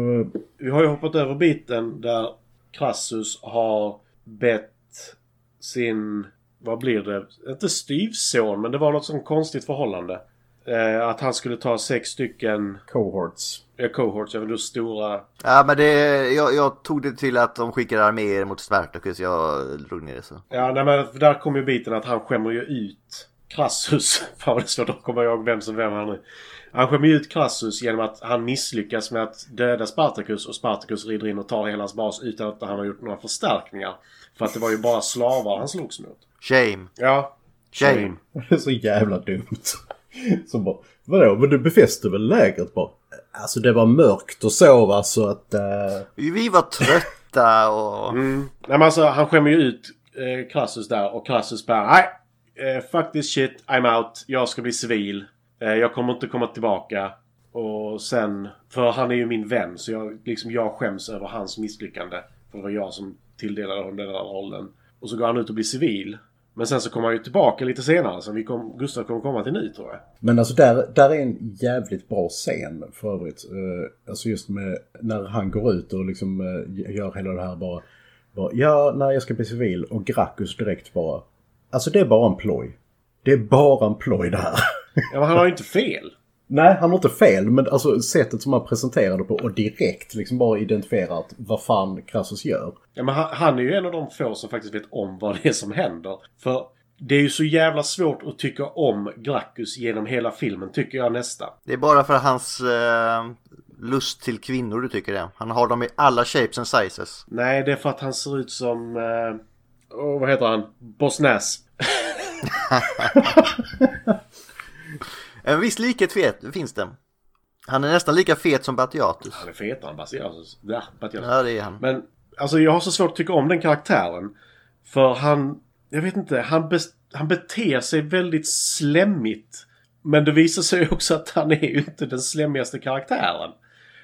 S1: Vi har ju hoppat över biten där Crassus har bett sin, vad blir det, inte styvson men det var något sånt konstigt förhållande. Eh, att han skulle ta sex stycken
S3: cohorts.
S1: eh, cohorts, jag vet inte stora.
S2: Ja, men det, jag, jag tog det till att de skickar arméer mot Spartacus. Jag drog ner det så.
S1: Ja, nej, men för där kom ju biten att han skämmer ju ut Crassus. Fan vad det är svårt att komma ihåg vem som vem här nu. Han skämmer ju ut Crassus genom att han misslyckas med att döda Spartacus och Spartacus rider in och tar hela hans bas utan att han har gjort några förstärkningar. För att det var ju bara slavar han slogs mot.
S2: Shame.
S1: Ja.
S2: Shame.
S3: Det är så jävla dumt. Som bara, vadå, men du befäste väl lägret bara? Alltså det var mörkt och så va, så att... eh,
S2: Vi var trötta och...
S1: Mm. Nej men alltså han skämmer ju ut eh, Crassus där och Crassus bara nej. Eh, fuck this shit, I'm out. Jag ska bli civil. Eh, jag kommer inte komma tillbaka. Och sen, för han är ju min vän så jag, liksom, jag skäms över hans misslyckande. För det var jag som tilldelade honom den där rollen. Och så går han ut och blir civil. Men sen så kommer han ju tillbaka lite senare. Så vi kom, Gustav kommer komma till nu tror jag.
S3: Men alltså där, där är en jävligt bra scen för övrigt. Eh, Alltså just med när han går ut och liksom eh, gör hela det här bara. bara ja, nej jag ska bli civil och Gracchus direkt bara. Alltså det är bara en ploj. Det är bara en ploj det här.
S1: Ja men han har ju inte fel.
S3: nej, han har inte fel men alltså sättet som han presenterade på och direkt liksom bara identifierat vad fan Crassus gör.
S1: Ja, men han, han är ju en av de få som faktiskt vet om vad det är som händer. För det är ju så jävla svårt att tycka om Gracchus genom hela filmen, tycker jag nästan.
S2: Det är bara för hans eh, lust till kvinnor du tycker det. Han har dem i alla shapes and sizes.
S1: Nej, det är för att han ser ut som... Eh, åh, vad heter han? Bosnäs.
S2: En viss likhet fet, finns det. Han är nästan lika fet som Batiatus.
S1: Han är fetare än Basiasus. Ja, Basiasus.
S2: Ja, det är han.
S1: Men alltså jag har så svårt att tycka om den karaktären. För han, jag vet inte, han, bes- han beter sig väldigt slemmigt. Men det visar sig också att han är ju inte den slemmigaste karaktären.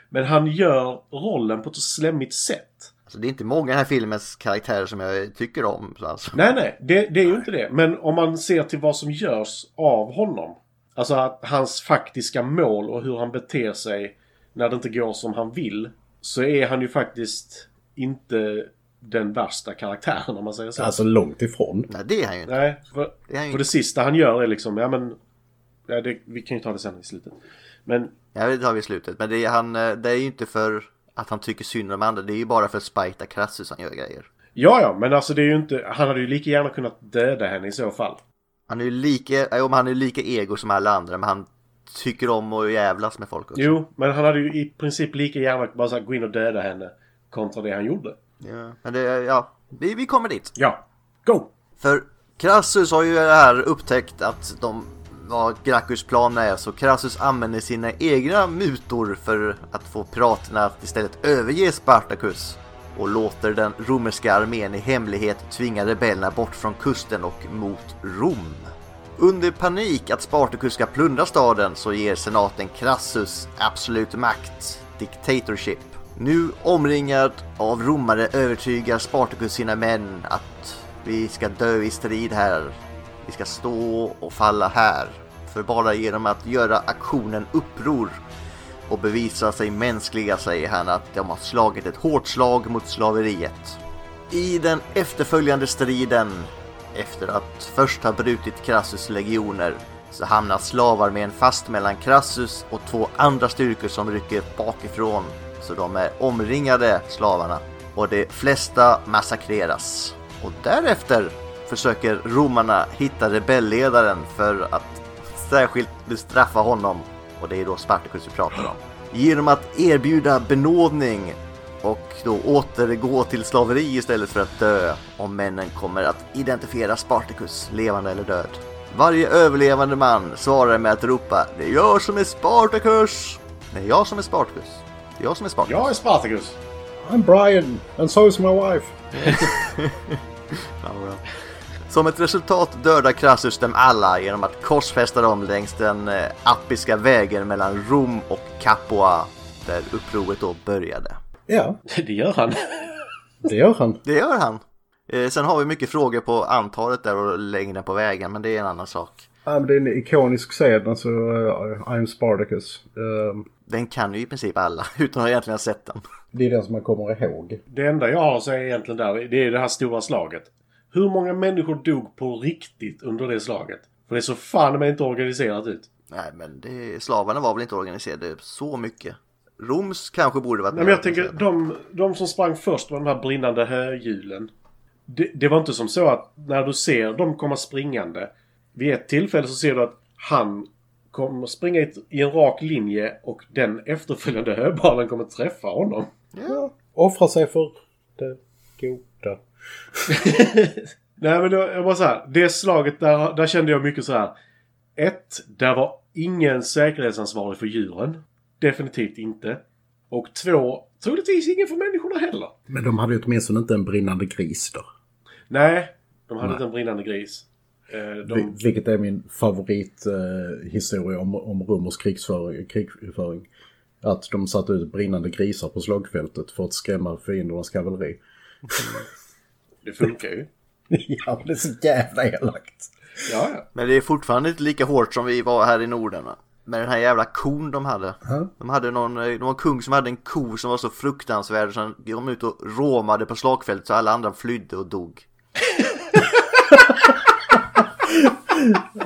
S1: Men han gör rollen på ett så slemmigt sätt.
S2: Alltså, det är inte många i den här filmens karaktärer som jag tycker om. så Alltså.
S1: Nej, nej, det, det är ju inte det. Men om man ser till vad som görs av honom. Alltså att hans faktiska mål och hur han beter sig när det inte går som han vill. Så är han ju faktiskt inte den värsta karaktären om man säger så.
S3: Alltså långt ifrån.
S2: Nej, det är han ju inte.
S1: Nej, för,
S2: Det är ju-
S1: för det sista han gör är liksom, ja men... Ja, det, vi kan ju ta det sen i slutet. Men,
S2: Ja, det tar vi i slutet. Men det är, han, eh, det är ju inte för att han tycker synd om andra. Det är ju bara för att spajta Crassus han gör grejer.
S1: ja ja, men alltså det är ju inte... Han hade ju lika gärna kunnat döda henne i så fall.
S2: Han är ju lika, ja, jo, men han är ju lika ego som alla andra. Men han tycker om att jävlas med folk också.
S1: Jo, men han hade ju i princip lika gärna bara så här, gå in och döda henne kontra det han gjorde.
S2: Ja, men det, ja, vi, vi kommer dit.
S1: Ja. Go!
S2: För Crassus har ju här upptäckt att de vad Gracchus plan är så Crassus använder sina egna mutor för att få piraterna att istället överge Spartacus och låter den romerska armén i hemlighet tvinga rebellerna bort från kusten och mot Rom. Under panik att Spartacus ska plundra staden så ger senaten Crassus absolut makt, dictatorship. Nu omringad av romare övertygar Spartacus sina män att vi ska dö i strid här. Vi ska stå och falla här. För bara genom att göra aktionen uppror och bevisa sig mänskliga säger han att de har slagit ett hårt slag mot slaveriet. I den efterföljande striden, efter att först ha brutit Crassus legioner, så hamnar slavarmén fast mellan Crassus och två andra styrkor som rycker bakifrån, så de är omringade, slavarna, och de flesta massakreras. Och därefter försöker romarna hitta rebellledaren för att särskilt bestraffa honom. Och det är då Spartacus vi pratar om. Genom att erbjuda benådning och då återgå till slaveri istället för att dö om männen kommer att identifiera Spartacus, levande eller död. Varje överlevande man svarar med att ropa Det är jag som är Spartacus! Det är jag som är Spartacus. Det är jag som är Spartacus.
S1: Jag är Spartacus!
S3: I'm Brian and so is my wife.
S2: Ja, bra. Som ett resultat dödar Crassus dem alla genom att korsfästa dem längs den eh, appiska vägen mellan Rom och Capua där upproret då började.
S3: Ja,
S1: Det gör han.
S3: det gör han.
S2: Det gör han. Eh, sen har vi mycket frågor på antalet där och längden på vägen, men det är en annan sak.
S3: Ja, men det är en ikonisk scen, alltså eh, I'm Spartacus. Eh,
S2: Den kan ju i princip alla utan att egentligen ha sett den.
S3: det är den som man kommer ihåg.
S1: Det enda jag har att säga egentligen där, det är det här stora slaget. Hur många människor dog på riktigt under det slaget? För det så fan men inte organiserat ut.
S2: Nej, men det, slavarna var väl inte organiserade så mycket. Roms kanske borde varit
S1: Nej, men jag
S2: organiserade.
S1: tänker, de, de som sprang först med de här brinnande höhjulen. Det, det var inte som så att när du ser dem komma springande. Vid ett tillfälle så ser du att han kommer springa i, ett- i en rak linje och den efterföljande höbalen kommer träffa honom.
S3: Ja, offra sig för det goda.
S1: Nej men det var- jag bara så här. Det slaget där, där kände jag mycket så här. Ett, där var ingen säkerhetsansvarig för djuren. Definitivt inte. Och två, troligtvis ingen för människorna heller.
S3: Men de hade ju åtminstone inte en brinnande gris där.
S1: Nej, de hade inte en brinnande gris. Eh, De,
S3: Vil- Vilket är min favorithistoria eh, historia om, om romersk krigsföring, krigföring. Att de satte ut brinnande grisar på slagfältet för att skrämma fiendernas kavalleri.
S1: det funkar ju.
S3: ja, men det är så jävla elakt.
S1: Ja, ja.
S2: Men det är fortfarande inte lika hårt som vi var här i Norden va? Med den här jävla kon de hade. De hade någon, eh, någon kung som hade en ko som var så fruktansvärd så han kom ut och råmade på slagfältet så alla andra flydde och dog.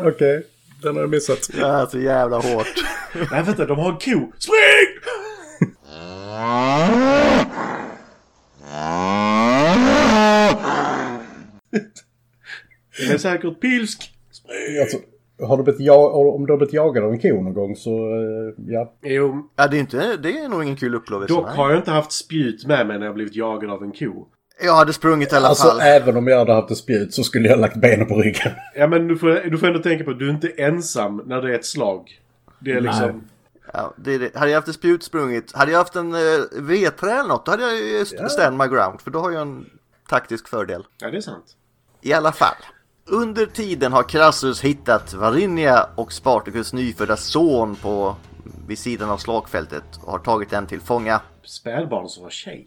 S3: Okej, den har jag missat.
S2: Det är så jävla hårt.
S1: Nej, vänta. De har en ko. Spring! Den är säkert pilsk.
S3: Alltså, har du blivit ja- om du har blivit jagad av en ko någon gång så eh, ja.
S1: Jo,
S2: Ja, det är, inte, det är nog ingen kul upplevelse.
S1: dock
S2: Alltså, nej.
S1: har jag inte haft spjut med mig när jag blivit jagad av en ko.
S2: Jag hade sprungit i alla
S3: Alltså
S2: fall.
S3: även om jag hade haft ett spjut så skulle jag lagt benen på ryggen.
S1: Ja, men du får, du får ändå tänka på att du är inte ensam när det är ett slag. Det är liksom...
S2: Ja, det, är det. Hade jag haft ett spjut sprungit, hade jag haft en eh, vedträ eller något, då hade jag ju st- stand my ground. För då har jag en taktisk fördel.
S1: Ja, det är sant.
S2: I alla fall. Under tiden har Crassus hittat Varinia och Spartacus nyfödda son på vid sidan av slagfältet och har tagit den till fånga.
S1: Spädbarn som var tjej.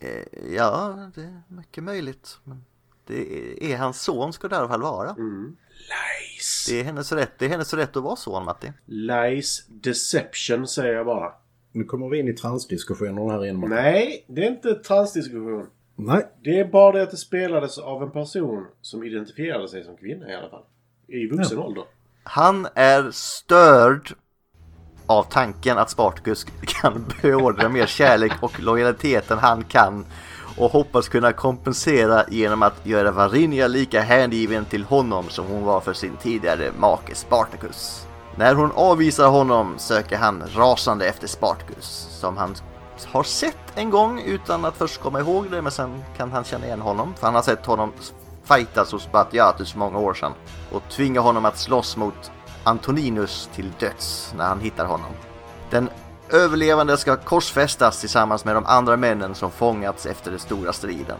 S2: Eh, Ja, det är mycket möjligt. Men det är hans son ska det i alla fall vara.
S1: Lies.
S2: Det, är hennes rätt, det är hennes rätt att vara son, Matti.
S1: Lies deception, säger jag bara.
S3: Nu kommer vi in i transdiskussionen här igen. Martin.
S1: Nej, det är inte transdiskussion.
S3: Nej.
S1: Det är bara det att det spelades av en person som identifierade sig som kvinna i alla fall. I vuxen ålder.
S2: Han är störd av tanken att Spartacus kan beordra mer kärlek och lojalitet än han kan och hoppas kunna kompensera genom att göra Varinia lika hängiven till honom som hon var för sin tidigare make Spartacus. När hon avvisar honom söker han rasande efter Spartacus som han har sett en gång utan att först komma ihåg det men sen kan han känna igen honom för han har sett honom fightas hos Batiatus för många år sedan och tvingar honom att slåss mot Antoninus till döds när han hittar honom. Den överlevande ska korsfästas tillsammans med de andra männen som fångats efter den stora striden.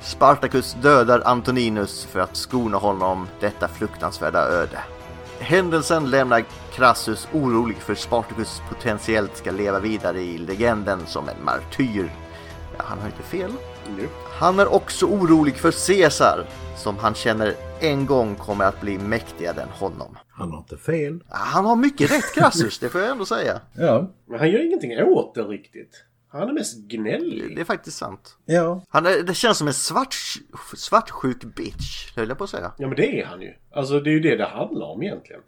S2: Spartacus dödar Antoninus för att skona honom detta fruktansvärda öde. Händelsen lämnar Crassus orolig för Spartacus potentiellt ska leva vidare i legenden som en martyr. Ja, han har inte fel.
S1: Nu.
S2: Han är också orolig för Caesar som han känner en gång kommer att bli mäktigare än honom.
S3: Han har inte fel.
S2: Ah, Han har mycket rätt Crassus, det får jag ändå säga.
S3: Ja.
S1: Men han gör ingenting åt det riktigt. Han är mest gnällig.
S2: Det är faktiskt sant.
S3: Ja.
S2: Han är, det känns som en svart, svartsjuk bitch, höll jag på att säga.
S1: Ja men det är han ju. Alltså det är ju det det handlar om egentligen.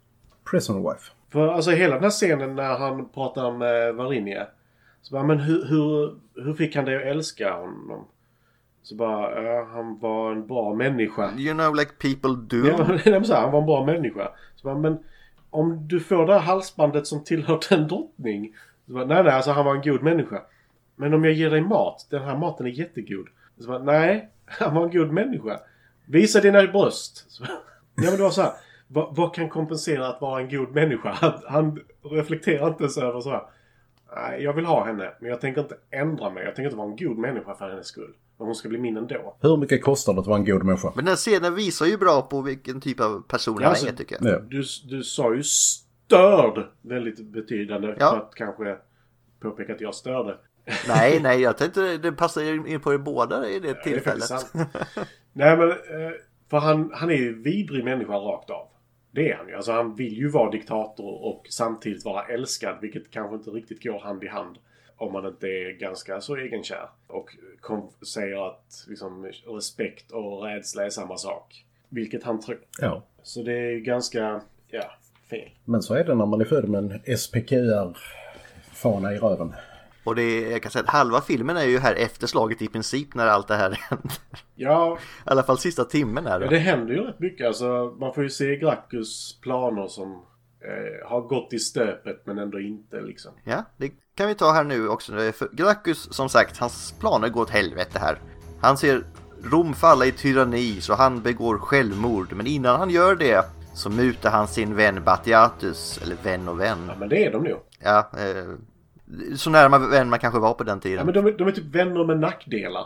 S3: Prison wife.
S1: För alltså hela den här scenen när han pratar med Varinia. Så bara, men hur, hur, hur fick han dig att älska honom? Så bara, ja, han var en bra människa.
S2: You know like people do.
S1: Ja, men- nej, men så här, han var en bra människa. Så bara, men om du får det här halsbandet som tillhör en drottning. Så bara, nej, nej, alltså han var en god människa. Men om jag ger dig mat, den här maten är jättegod. Så bara, nej, han var en god människa. Visa dina bröst. Så, bara, ja, men det var så här. Vad, vad kan kompensera att vara en god människa? Han, han reflekterar inte ens över så här. Nej, jag vill ha henne, men jag tänker inte ändra mig. Jag tänker inte vara en god människa för hennes skull. Men hon ska bli min ändå.
S3: Hur mycket kostar det att vara en god människa?
S2: Men den här scenen visar ju bra på vilken typ av person
S1: Ja,
S2: han
S1: alltså,
S2: är tycker jag.
S3: Ja.
S1: Du, du sa ju störd väldigt betydande.
S2: Ja.
S1: För att kanske påpeka att jag störde.
S2: Nej, nej, jag tänkte det passar ju in på er båda i det
S1: Det är faktiskt
S2: tillfället.
S1: sant. Nej men, eh, för han, han är ju en vidrig människa rakt av. Det är han ju. Alltså han vill ju vara diktator och samtidigt vara älskad. Vilket kanske inte riktigt går hand i hand. Om man inte är ganska så egenkär. Och kom, säger att liksom, respekt och rädsla är samma sak. Vilket han tror.
S3: Ja.
S1: Så det är ju ganska, ja, fel.
S3: Men så är det när man är född med en SPQR-fana i röven.
S2: Och det är, jag kan säga att halva filmen är ju här efter slaget i princip när allt det här händer.
S1: Ja,
S2: I alla fall sista timmen här.
S1: Ja,
S2: Då.
S1: det händer ju rätt mycket. Alltså, man får ju se Gracchus planer som eh, har gått i stöpet men ändå inte liksom.
S2: Ja, det kan vi ta här nu också. Det är För Gracchus, som sagt, hans planer går åt helvete här. Han ser Rom falla i tyranni så han begår självmord. Men innan han gör det så mutar han sin vän Batiatus, eller vän och vän.
S1: Ja, men det är de nog.
S2: Ja, eh, så nära man, vän man kanske var på den
S1: Ja,
S2: tiden.
S1: men de, är- de är typ vänner med nackdelar.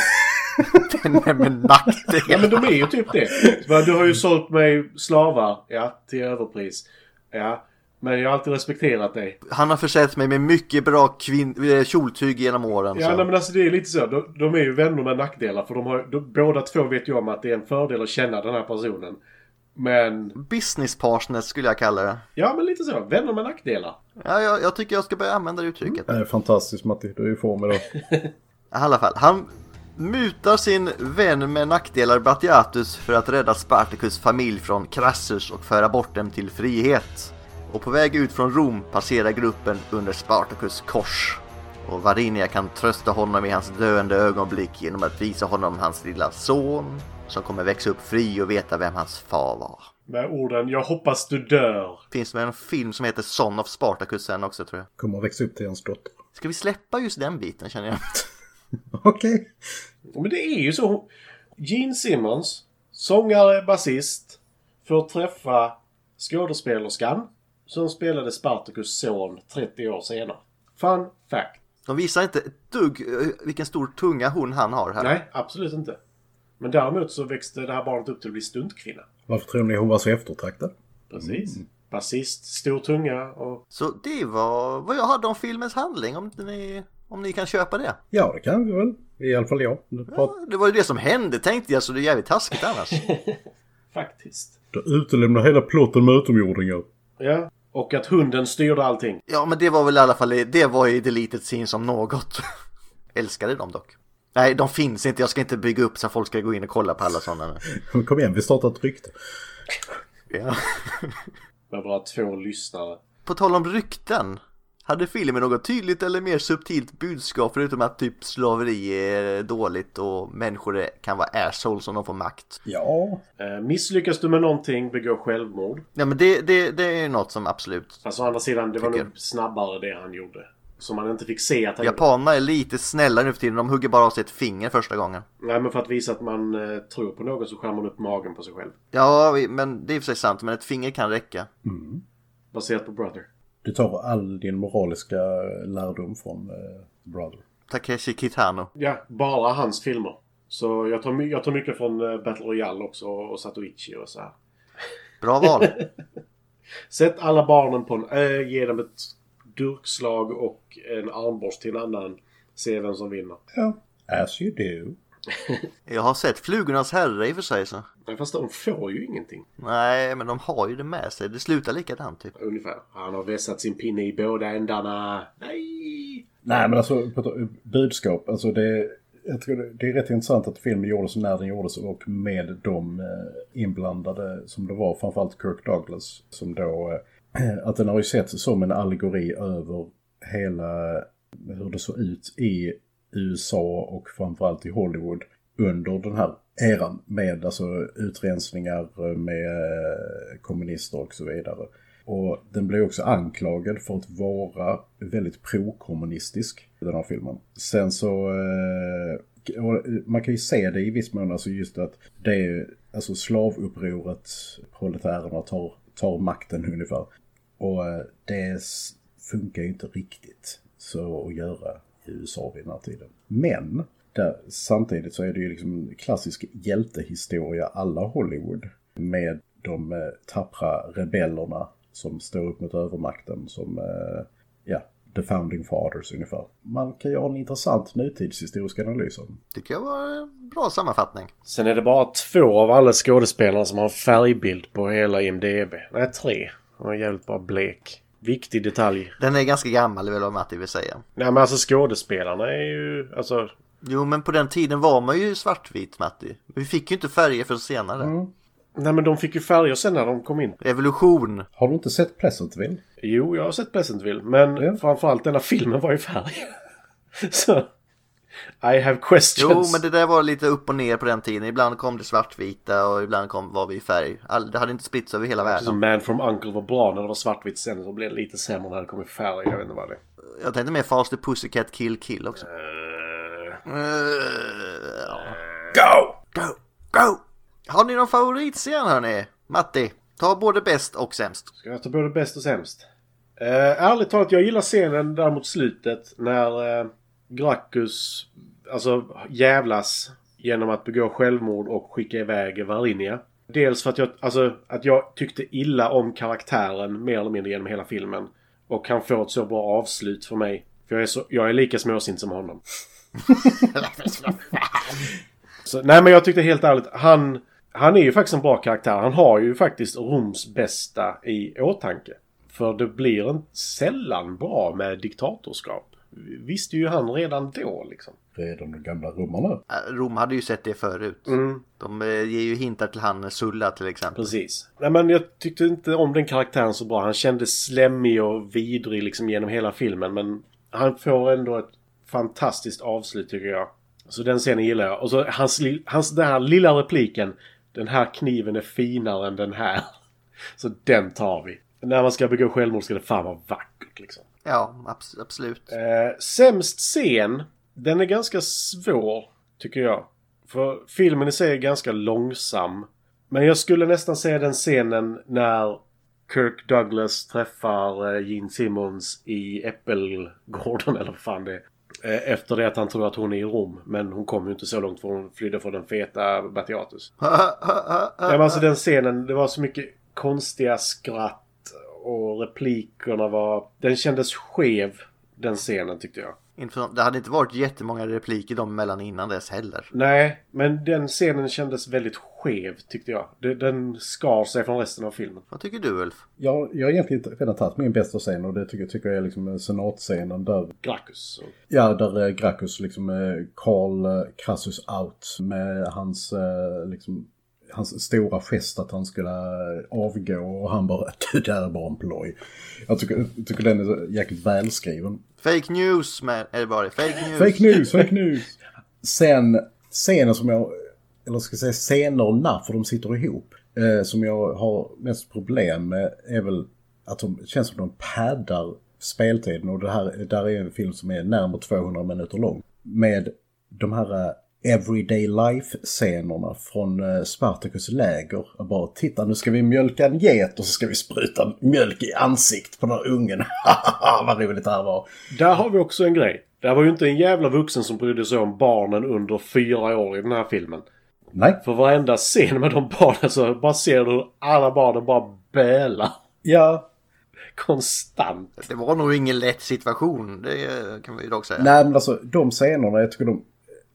S2: men, men nackdel.
S1: Ja, men de är ju typ det. Så bara, Du har ju sålt mig slavar, ja, till överpris. Ja, men jag har alltid respekterat dig.
S2: Han har försett mig med mycket bra kvin- eh, kjoltyg genom åren.
S1: Ja,
S2: så.
S1: nej, men alltså det är lite så. De, de är ju vänner med nackdelar för de har, de, båda två vet ju om att det är en fördel att känna den här personen. Men,
S2: Business partners skulle jag kalla det.
S1: ja men lite så. Vänner med nackdelar.
S2: Ja, jag, jag tycker jag ska börja använda det uttrycket.
S3: Det är fantastiskt Matti, du är i form idag.
S2: I alla fall, han mutar sin vän med nackdelar Batiatus för att rädda Spartacus familj från Crassus och föra bort dem till frihet. Och på väg ut från Rom passerar gruppen under Spartacus kors. Och Varinia kan trösta honom i hans döende ögonblick genom att visa honom hans lilla son som kommer växa upp fri och veta vem hans far var.
S1: Med orden “Jag hoppas du dör”.
S2: Finns det en film som heter Son of Spartacus sen också tror jag.
S3: Kommer att växa upp till hans dotter.
S2: Ska vi släppa just den biten känner jag?
S3: Okej.
S1: Ja, Men det är ju så. Gene Simmons, sångare, basist, får träffa skådespelerskan som spelade Spartacus son 30 år senare. Fun fact.
S2: De visar inte ett dugg eh, vilken stor tunga hon han har här.
S1: Nej, absolut inte. Men däremot så växte det här barnet upp till att bli stuntkvinna.
S3: Varför tror ni hon var så eftertraktad?
S1: Precis. Basist, stor tunga och...
S2: Så det var vad jag hade om filmens handling, om inte ni, om ni kan köpa det.
S3: Ja, det kan vi väl. I alla fall jag. Du, prat...
S2: Ja, Det var ju det som hände tänkte jag, så det är jävligt taskigt annars.
S1: Faktiskt.
S3: du utelämnar hela plotten med utomjordingar.
S1: Ja. Och att hunden styrde allting.
S2: Ja, men det var väl i alla fall, det var ju deleted scene som något. Älskade dem dock. Nej, de finns inte, jag ska inte bygga upp så att folk ska gå in och kolla på alla sådana.
S3: Men kom igen, vi startar ett rykte.
S2: Ja.
S1: Med bara två lyssnare.
S2: På tal om rykten. Hade filmen något tydligt eller mer subtilt budskap förutom att typ slaveri är dåligt och människor är- kan vara assholes om de får makt?
S3: Ja.
S1: Eh, misslyckas du med någonting, begå självmord.
S2: Ja men det, det, det är ju något som absolut
S1: Fast å andra sidan, det var
S2: Tycker.
S1: nog snabbare det han gjorde. Som man inte fick se att han gjorde.
S2: Japanerna är lite snällare nu för tiden, de hugger bara av sig ett finger första gången.
S1: Nej, men för att visa att man eh, tror på någon så skär man upp magen på sig själv.
S2: Ja, vi- men det är i och för sig sant, men ett finger kan räcka.
S1: Baserat på Brother.
S3: Du tar all din moraliska lärdom från eh, Brother.
S2: Takeshi Kitano.
S1: Ja, bara hans filmer. Så jag tar, my- jag tar mycket från eh, Battle Royale också och Satoichi och så här.
S2: Bra val.
S1: Sätt alla barnen på en ö, ge dem ett durkslag och en armborst till en annan. Se vem som vinner.
S3: Ja. As you do.
S2: Jag har sett Flugornas herre i och för sig så.
S1: Nej, fast de får ju ingenting.
S2: Nej, men de har ju det med sig. Det slutar likadant typ.
S1: Ungefär. Han har vässat sin pinne i båda ändarna. Nej!
S3: Nej, men alltså på t- budskap. Alltså det, jag tror det, det är rätt intressant att filmen gjordes när den gjordes och med de eh, inblandade som det var, framförallt Kirk Douglas, som då... Eh, att den eh, har ju setts som en allegori över hela hur det såg ut i USA och framförallt i Hollywood under den här eran med alltså utrensningar med eh, kommunister och så vidare. Och den blev också anklagad för att vara väldigt prokommunistisk, den här filmen. Sen så... eh, och Man kan ju se det i viss mån, alltså just att det är alltså slavupproret, proletärerna tar, tar makten ungefär. Och eh, det s- funkar ju inte riktigt så att göra i USA vid den här tiden. Men där, samtidigt så är det ju liksom en klassisk hjältehistoria alla Hollywood med de eh, tappra rebellerna som står upp mot övermakten som, eh, ja, the founding fathers ungefär. Man kan göra en intressant nutidshistorisk analys om.
S2: Tycker jag var en bra sammanfattning.
S1: Sen är det bara två av alla skådespelare som har en färgbild på hela IMDB. Nej, tre. Han var jävligt bara blek. Viktig detalj.
S2: Den är ganska gammal vill jag Matti vill säga.
S1: Nej, men alltså skådespelarna är ju... Alltså,
S2: Jo men på den tiden var man ju svartvit Matti. Vi fick ju inte färger för senare.
S1: nej, men de fick ju färger sen när de kom in.
S2: Revolution.
S3: Har du inte sett Pleasantville?
S1: Jo, jag har sett Pleasantville, men
S3: Ja.
S1: framförallt denna filmen var i färg. Så... I have questions.
S2: Jo men det där var lite upp och ner på den tiden. Ibland kom det svartvita och ibland kom, var vi i färg. All, det hade inte spritts över hela världen.
S1: Som Man from Uncle var bra när det var svartvitt sen så blev det lite sämre när det kom i färg. Jag vet inte vad det är.
S2: Jag tänkte mer Faster Pussycat Kill Kill också.
S1: Eh,
S2: Go! Go! Go! Har ni någon favoritscen hörni? Matti, ta både bäst och sämst.
S1: Ska jag ta både bäst och sämst? Uh, ärligt talat, jag gillar scenen där mot slutet när uh, Gracchus alltså, jävlas genom att begå självmord och skicka iväg Varinia. Dels för att jag, alltså, att jag tyckte illa om karaktären mer eller mindre genom hela filmen. Och han får ett så bra avslut för mig. För jag är, så, jag är lika småsint som honom. Så, nej men jag tyckte helt ärligt, han, han är ju faktiskt en bra karaktär. Han har ju faktiskt Roms bästa i åtanke. För det blir en sällan bra med diktatorskap. Visste ju han redan då liksom.
S3: Det är de gamla romarna.
S2: Äh, Rom hade ju sett det förut. De eh, ger ju hintar till han eh, Sulla till exempel.
S1: Precis. Nej men jag tyckte inte om den karaktären så bra. Han kändes slemmig och vidrig liksom genom hela filmen. Men han får ändå ett fantastiskt avslut tycker jag. Så den scenen gillar jag. Och så hans, li- hans den här lilla repliken. Den här kniven är finare än den här. Så den tar vi. När man ska begå självmord ska det fan vara vackert liksom.
S2: Ja, abs- absolut.
S1: Eh, sämst scen. Den är ganska svår, tycker jag. För filmen i sig är ganska långsam. Men jag skulle nästan säga den scenen när Kirk Douglas träffar eh, Gene Simmons i Äppelgården, eller vad fan det är. Eh, Efter det att han tror att hon är i Rom. Men hon kom ju inte så långt för hon flydde från den feta Batiatus.
S2: Ah,
S1: Ja, men alltså den scenen, det var så mycket konstiga skratt och replikerna var... Den kändes skev, den scenen tyckte jag.
S2: Inte för- Det hade inte varit jättemånga repliker de mellan innan dess heller.
S1: Nej, men den scenen kändes väldigt skev tyckte jag. Den- Den skar sig från resten av filmen.
S2: Vad tycker du Ulf?
S3: Jag, jag har egentligen inte redan tagit min bästa scen och det tycker, tycker jag är liksom senatscenen där
S1: Gracchus. och-
S3: Ja, där eh, Gracchus liksom eh, call eh, Crassus out med hans eh, liksom hans stora gest att han skulle eh, avgå och han bara du det här är bara en ploj. Jag tycker, tycker den är så jäkligt välskriven.
S2: Fake news men, är det bara det? Fake news.
S3: Fake news, fake news! Sen scenen som jag, eller ska jag säga scenerna för de sitter ihop, eh, som jag har mest problem med är väl att de känns som de paddar speltiden och det här, där är en film som är närmare 200 minuter lång. Med de här eh, everyday life-scenerna från eh, Spartacus läger. Och bara titta nu ska vi mjölka en get och så ska vi spruta mjölk i ansikt på den här ungen. Vad roligt det här var.
S1: Där har vi också en grej. Det var ju inte en jävla vuxen som brydde sig om barnen under fyra år i den här filmen.
S3: Nej,
S1: För varenda scen med de barnen så bara ser du hur alla barnen bara bölar.
S3: ja,
S1: Konstant.
S2: Det var nog ingen lätt situation. Det eh, kan vi dock säga.
S3: Nej, men alltså de scenerna, jag tycker de,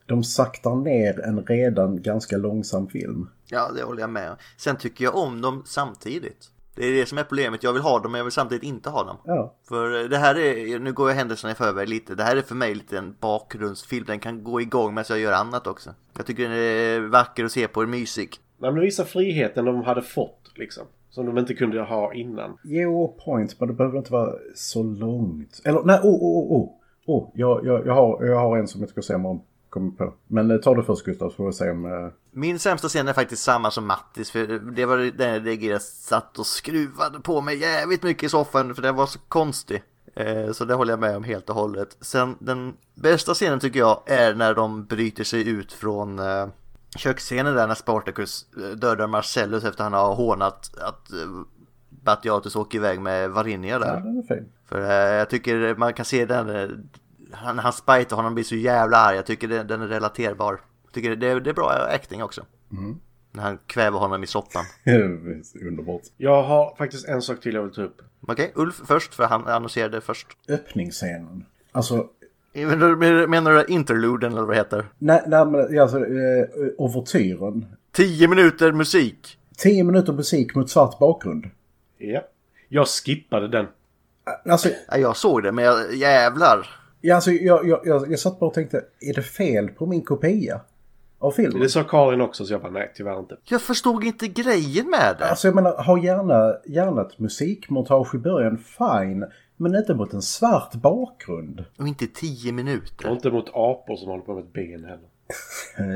S3: de saktar ner en redan ganska långsam film.
S2: Ja, det håller jag med om. Sen tycker jag om dem samtidigt. Det är det som är problemet. Jag vill ha dem men jag vill samtidigt inte ha dem.
S3: Ja.
S2: För eh, det här är, nu går jag händelserna i förväg lite. Det här är för mig lite en bakgrundsfilm. Den kan gå igång medan jag gör annat också. Jag tycker den är vacker att se på, mysig.
S1: Nej, men det visar friheten de hade fått liksom. Som de inte kunde ha innan.
S3: Jo, point, men det behöver inte vara så långt. Eller nej, oh, oh, oh, oh. Oh, jag, jag, jag, har, jag har en som jag ska säga om. Kommer på. Men eh, ta det först Gustav så får vi se om... eh,
S2: Min sämsta scen är faktiskt samma som Mattis, för det var den jag reagerade, satt och skruvade på mig jävligt mycket i soffan, för den var så konstig. Eh, Så det håller jag med om helt och hållet. Sen den bästa scenen tycker jag är när de bryter sig ut från eh, köksscenen där när Spartacus eh, dödar Marcellus efter han har hånat att eh, Batiatus åker iväg med Varinia
S3: Ja,
S2: där.
S3: den är fin.
S2: För eh, jag tycker man kan se den, eh, han, han spite honom blir så jävla arg. Jag tycker den, den är relaterbar. Jag tycker det, det är bra acting också. När han kväver honom i soppan.
S3: Underbart.
S1: Jag har faktiskt en sak till jag vill ta upp.
S2: Okej, Ulf först, för han annonserade först.
S3: Öppningsscenen. Alltså
S2: Menar menar du interluden eller vad det heter?
S3: Nej, nej men alltså eh, overtyren.
S2: Tio minuter musik!
S3: 10 minuter musik mot svart bakgrund.
S1: Ja. Jag skippade den.
S3: Alltså,
S2: Ja, jag såg det, men jag, jävlar!
S3: jag, alltså jag, jag, jag, jag satt bara och tänkte, är det fel på min kopia av filmen?
S1: Det sa Karin också så jag bara nej tyvärr inte.
S2: Jag förstod inte grejen med det!
S3: Alltså jag menar, ha gärna, gärna ett musikmontage i början, fine. Men inte mot en svart bakgrund.
S2: Och inte tio
S1: Och
S2: minuter.
S1: inte mot apor som håller på med ett ben heller.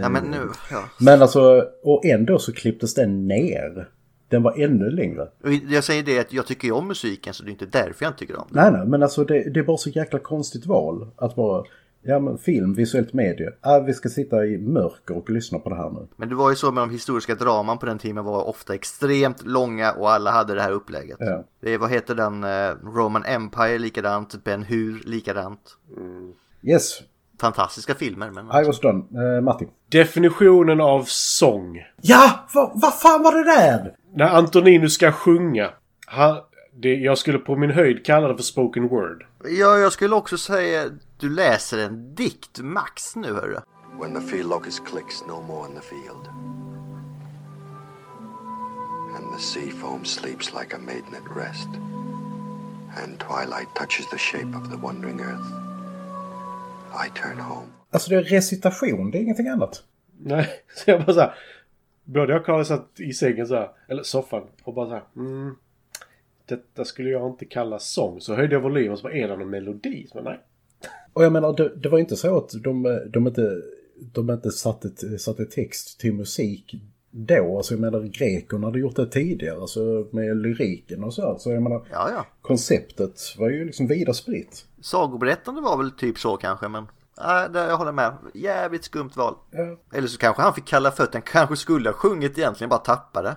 S2: Ja, men nu... Ja.
S3: Men alltså, och ändå så klipptes den ner. Den var ännu längre.
S2: Och Jag säger det att jag tycker ju om musiken, så det är inte därför jag inte tycker om den.
S3: Nej, nej, men alltså det, det är bara så jäkla konstigt val. Att bara, ja men film, visuellt medie. Ah, vi ska sitta i mörker och lyssna på det här nu.
S2: Men det var ju så med de historiska draman på den tiden var ofta extremt långa och alla hade det här upplägget.
S3: Ja.
S2: Det, vad heter den? eh, Roman Empire likadant, Ben Hur likadant.
S3: Yes,
S2: Fantastiska filmer men...
S3: I was done. Eh, Matti.
S1: Definitionen av sång.
S3: Ja! Vad va fan var det där?
S1: När Antoninus ska sjunga. Han, det, jag skulle på min höjd kalla det för spoken word.
S2: Ja, jag skulle också säga du läser en dikt max nu hörru.
S6: When the field locust clicks no more in the field. And the sea foam sleeps like a maiden at rest. And twilight touches the shape of the wandering earth. I turn home.
S3: Alltså det är recitation, det är ingenting annat.
S1: Nej, så jag bara så här. Både jag och Karin satt i sängen så här, eller soffan, och bara så här. Mm, detta skulle jag inte kalla sång. Så höjde jag volymen och så bara, är det någon melodi? Så bara, nej.
S3: Och jag menar, det, det var inte så att de, de inte, de inte satte, satte text till musik då. Alltså jag menar, grekerna hade gjort det tidigare, alltså med lyriken och så här. Så jag menar,
S2: Ja, ja.
S3: konceptet var ju liksom vida spritt.
S2: Sagoberättande var väl typ så kanske men... Nej, det, jag håller med. Jävligt skumt val.
S3: Ja.
S2: Eller så kanske han fick kalla fötter. Han kanske skulle ha sjungit egentligen, bara tappade.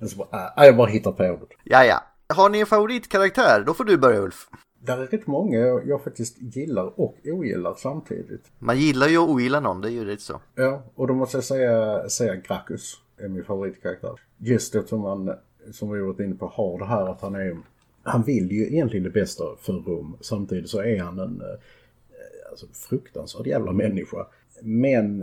S3: Alltså, bara, ah, jag bara hittar på ordet.
S2: Ja, ja. Har ni en favoritkaraktär? Då får du börja Ulf.
S3: Där är rätt många jag, jag faktiskt gillar och ogillar samtidigt.
S2: Man gillar ju och ogillar någon, det är ju lite så.
S3: Ja, och då måste jag säga, säga Gracchus är min favoritkaraktär. Just eftersom han, som vi varit inne på, har det här att han är... Han vill ju egentligen det bästa för Rom. Samtidigt så är han en eh, alltså, fruktansvärd jävla människa. Men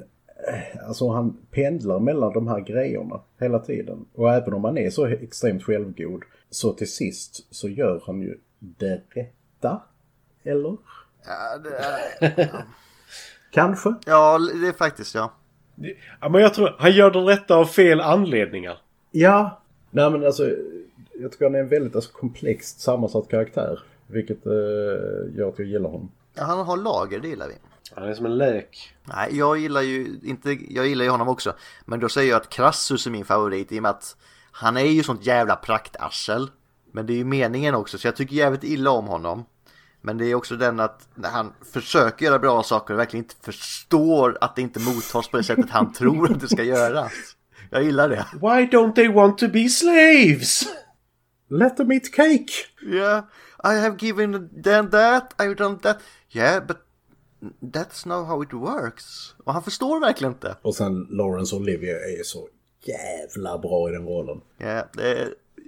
S3: eh, alltså han pendlar mellan de här grejerna hela tiden. Och även om han är så extremt självgod så till sist så gör han ju det rätta. Eller?
S2: Ja, det är,
S3: Kanske?
S2: ja, det är faktiskt ja.
S1: Det- Ja, men jag tror, han gör det rätta av fel anledningar.
S3: Ja. Nej men alltså, jag tycker han är en väldigt alltså, komplext sammansatt karaktär. Vilket eh, gör att jag gillar honom.
S2: Ja, Han har lager, det gillar vi.
S1: Han är som en lök.
S2: Nej, jag gillar ju inte, jag gillar ju honom också. Men då säger jag att Krassus är min favorit i och med att han är ju sånt jävla praktarsel. Men det är ju meningen också, så jag tycker jävligt illa om honom. Men det är också den att när han försöker göra bra saker och verkligen inte förstår att det inte mottas på det sättet han tror att det ska göras. Jag gillar det.
S1: Why don't they want to be slaves?
S3: Let them eat cake!
S2: Yeah, I have given them that, I've done that. Yeah, but that's not how it works. Och han förstår verkligen inte.
S3: Och sen Laurence Olivier är ju så jävla bra i den rollen.
S2: Ja, det är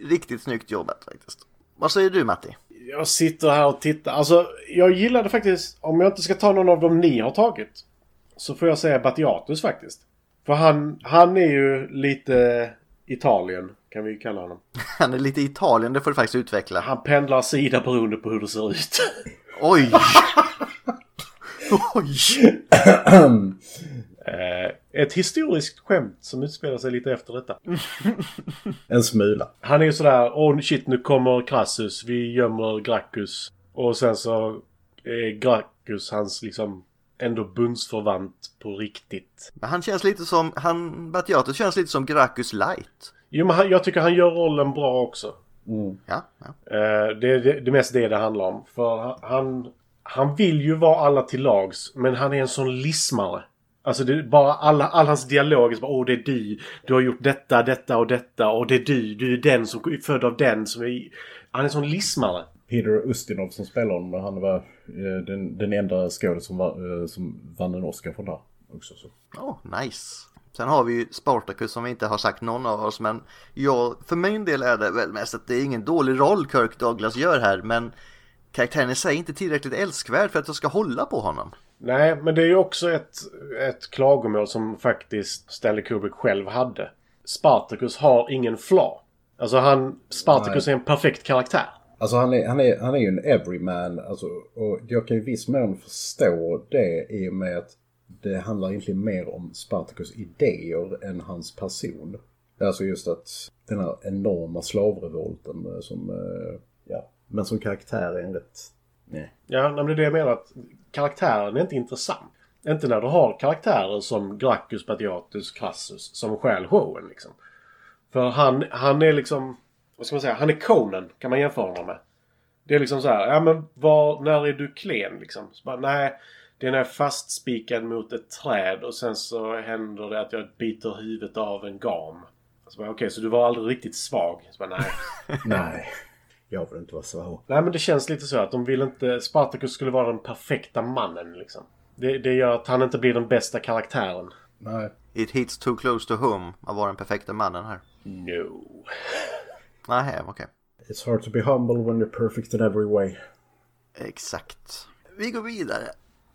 S2: riktigt snyggt jobbat faktiskt. Vad säger du Matti?
S1: Jag sitter här och tittar. Alltså, jag gillade faktiskt, om jag inte ska ta någon av dem ni har tagit, så får jag säga Batiatus faktiskt. För han, han är ju lite Italien, kan vi ju kalla honom.
S2: Han är lite i Italien, det får du faktiskt utveckla.
S1: Han pendlar sida beroende på hur det ser ut.
S2: Oj! Oj!
S1: Eh, Ett historiskt skämt som utspelar sig lite efter detta.
S3: En smula.
S1: Han är ju sådär, åh shit nu kommer Crassus, vi gömmer Gracchus. Och sen så eh, Gracchus, hans liksom ändå bundsförvant på riktigt.
S2: Men han känns lite som, han, Batiatus känns lite som Gracchus light.
S1: Jo, men han, jag tycker han gör rollen bra också.
S2: Ja, ja.
S1: Eh, Det är det, det är mest det det handlar om. För ha- han, han vill ju vara alla till lags, men han är en sån lismare. Alltså det är bara alla, all hans dialog är så bara åh det är du, du har gjort detta, detta och detta och det är du, du är den som är född av den som är... Han är en sån lismare.
S3: Peter Ustinov som spelar honom, han var eh, den, den enda skådespelaren som, var, eh, som vann en Oscar för det här också. Så.
S2: Åh, nice. Sen har vi ju Spartacus som vi inte har sagt någon av oss, men jag, för min del är det väl mest att det är ingen dålig roll Kirk Douglas gör här, men karaktären i sig är inte tillräckligt älskvärd för att jag ska hålla på honom.
S1: Nej, men det är ju också ett, ett klagomål som faktiskt Stanley Kubrick själv hade. Spartacus har ingen flaw. Alltså han, Spartacus är en perfekt karaktär.
S3: Alltså han är, han, är, han är ju en everyman. Alltså, och jag kan ju i viss mån förstå det i och med att det handlar egentligen mer om Spartacus idéer än hans person. Alltså just att den här enorma slavrevolten eh, som... eh, Ja. Men som karaktär är en rätt... Nej.
S1: Ja, nej, men det är det jag menar. Att karaktären är inte intressant. Inte när du har karaktärer som Gracchus, Batiatus, Crassus som stjäl showen. Liksom. För han, han är liksom... Vad ska man säga? Han är Conan, kan man jämföra honom med. Det är liksom så här, ja men var, när är du klen liksom? Så bara, nej, det är när jag är fastspikad mot ett träd och sen så händer det att jag biter huvudet av en gam. Så bara, Okej, så du var aldrig riktigt svag? Så bara, nej.
S3: Nej. Jag vill inte vara så.
S1: Nej men det känns lite så att de vill inte... Spartacus skulle vara den perfekta mannen liksom. Det, det gör att han inte blir den bästa karaktären.
S3: Nej.
S2: It hits too close to home att vara den perfekta mannen här.
S1: No.
S2: Nej, okej.
S3: It's hard to be humble when you're perfect in every way.
S2: Exakt. Vi går vidare.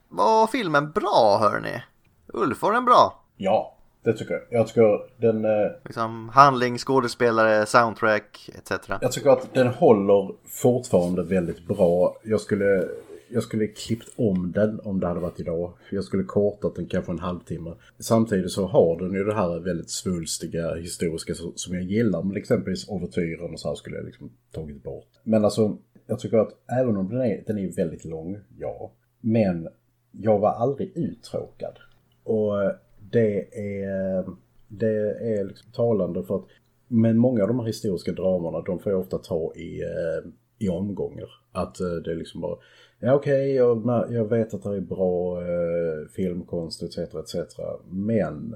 S2: Var filmen bra hörni? Ulf, var den bra?
S3: Ja, det tycker jag. Jag tycker den... eh,
S2: Liksom handling, skådespelare, soundtrack, etc.
S3: Jag tycker att den håller fortfarande väldigt bra. Jag skulle, jag skulle klippt om den om det hade varit idag. Jag skulle kortat den kanske en halvtimme. Samtidigt så har den ju det här väldigt svulstiga historiska så- som jag gillar. Men exempelvis ouvertyren och så här skulle jag liksom tagit bort. Men alltså, jag tycker att även om den är, den är väldigt lång, ja. Men jag var aldrig uttråkad. Och det är, det är liksom talande för att men många av de här historiska dramerna de får jag ofta ta i, eh, i omgångar. Att eh, det är liksom bara, ja okej, jag, na- jag vet att det här är bra eh, filmkonst etc. etc. Men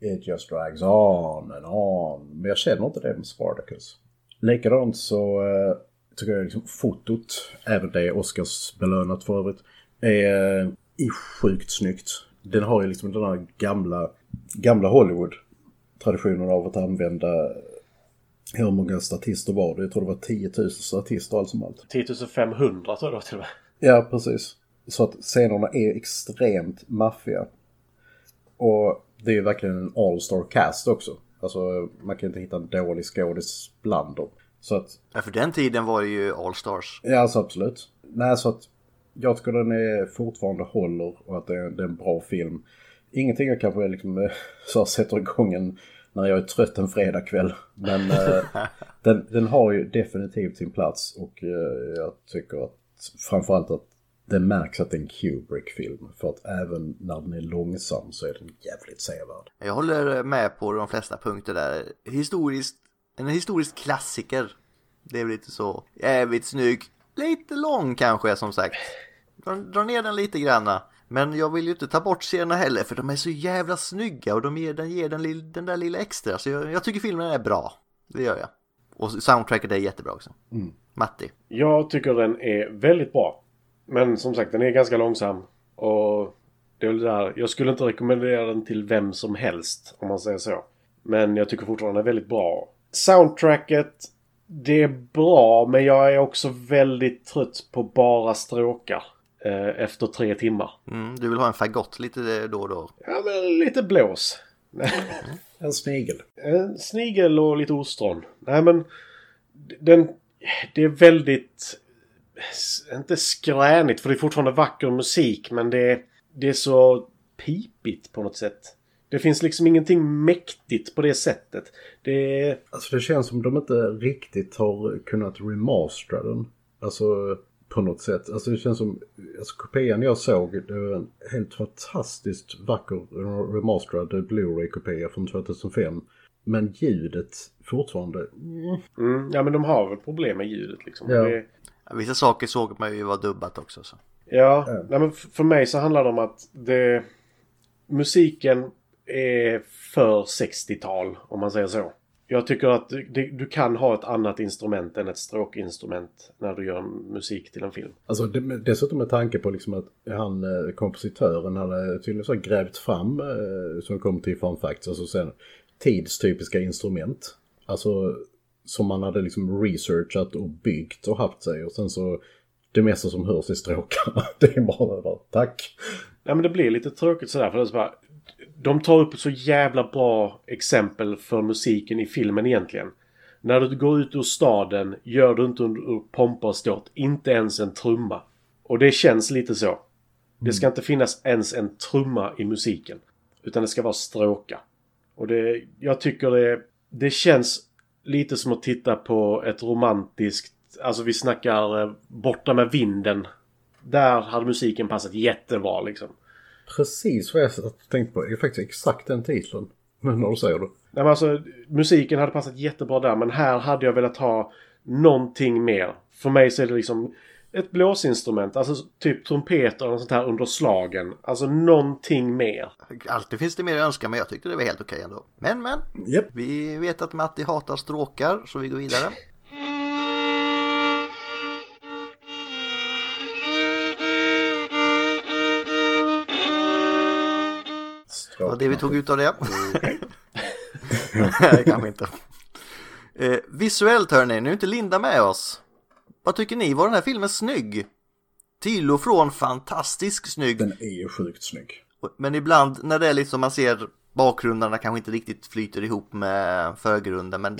S3: it just drags on and on. Men jag känner inte det med Spartacus. Likadant så eh, tycker jag liksom fotot, även det är Oscars belönat för övrigt, är, eh, är sjukt snyggt. Den har ju liksom den här gamla, gamla Hollywood traditionen av att använda eh, hur många statister var det? Jag tror det var 10 000 statister allt som allt.
S1: 10 500 tror jag det var till och med.
S3: Ja, precis. Så att scenerna är extremt maffiga. Och det är ju verkligen en all-star cast också. Alltså, man kan inte hitta en dålig skådis bland dem. Så att
S2: Ja, för den tiden var det ju All Stars.
S3: Ja, alltså absolut. Nej, så att jag tycker den är fortfarande håller och att det är, det är en bra film. Ingenting jag kanske liksom, eh, så här, sätter igång en när jag är trött en fredagkväll. Men eh, den, den har ju definitivt sin plats och eh, jag tycker att framförallt att det märks att det är en Kubrick-film. För att även när den är långsam så är den jävligt sevärd.
S2: Jag håller med på de flesta punkter där. Historiskt, en historisk klassiker. Det är väl lite så. Jävligt snygg. Lite lång kanske som sagt. Dra, dra ner den lite granna. Men jag vill ju inte ta bort scenerna heller för de är så jävla snygga och de ger, den, ger den, lill- den där lilla extra. Så jag, jag tycker filmen är bra. Det gör jag. Och soundtracket är jättebra också. Matti.
S1: Jag tycker den är väldigt bra. Men som sagt, den är ganska långsam. Och det är väl det där. Jag skulle inte rekommendera den till vem som helst, om man säger så. Men jag tycker fortfarande den är väldigt bra. Soundtracket, det är bra, men jag är också väldigt trött på bara stråkar. Eh, efter tre timmar.
S2: Mm, du vill ha en fagott lite då och då.
S1: Ja, men lite blås.
S3: En snigel.
S1: En snigel och lite ostron. Nej men... Den... Det är väldigt... s- Inte skränigt för det är fortfarande vacker musik men det är... Det är så pipigt på något sätt. Det finns liksom ingenting mäktigt på det sättet. Det är...
S3: Alltså det känns som de inte riktigt har kunnat remastera den. Alltså på något sätt. Alltså det känns som, alltså kopian jag såg, det var en helt fantastiskt vacker remasterad Blu-ray-kopia från 2005. Men ljudet fortfarande,
S1: Mm, ja, men de har väl problem med ljudet liksom.
S3: Ja.
S1: Det,
S2: Ja, Vissa saker såg man ju var dubbat också. Så.
S1: Ja, nej, men f- för mig så handlar det om att det, musiken är för 60-tal, om man säger så. Jag tycker att du- det, du kan ha ett annat instrument än ett stråkinstrument när du gör musik till en film.
S3: Alltså det, dessutom med tanke på liksom att han, eh, kompositören hade tydligen så här grävt fram, eh, som kom till Fun Facts, alltså sen tidstypiska instrument. Alltså som man hade liksom researchat och byggt och haft sig och sen så det mesta som hörs är stråkar. Det är bara, bara tack.
S1: Nej, men det blir lite tråkigt sådär. För det är så bara, de tar upp så jävla bra exempel för musiken i filmen egentligen. När du går ut ur staden gör du inte ur ur pompa och ståt, inte ens en trumma. Och det känns lite så. Det ska inte finnas ens en trumma i musiken. Utan det ska vara stråka. Och det, jag tycker det, det känns lite som att titta på ett romantiskt, alltså vi snackar eh, borta med vinden. Där hade musiken passat jättebra liksom.
S3: Precis vad jag satt och tänkte på. Det är faktiskt exakt den titeln. Men när du säger det.
S1: Nej, men alltså, musiken hade passat jättebra där, men här hade jag velat ha någonting mer. För mig så är det liksom ett blåsinstrument, alltså typ trumpeter eller något sånt här under slagen. Alltså någonting mer.
S2: Alltid finns det mer att önska men jag tyckte det var helt okej ändå. Men men,
S3: Japp.
S2: vi vet att Matti hatar stråkar så vi går vidare. Det var det vi tog ut av det. Nej, kanske inte. Eh, visuellt hörni, nu är inte Linda med oss. Vad tycker ni? Var den här filmen snygg? Till och från fantastiskt snygg.
S3: Den är ju sjukt snygg.
S2: Men ibland när det är liksom man ser bakgrunderna kanske inte riktigt flyter ihop med förgrunden men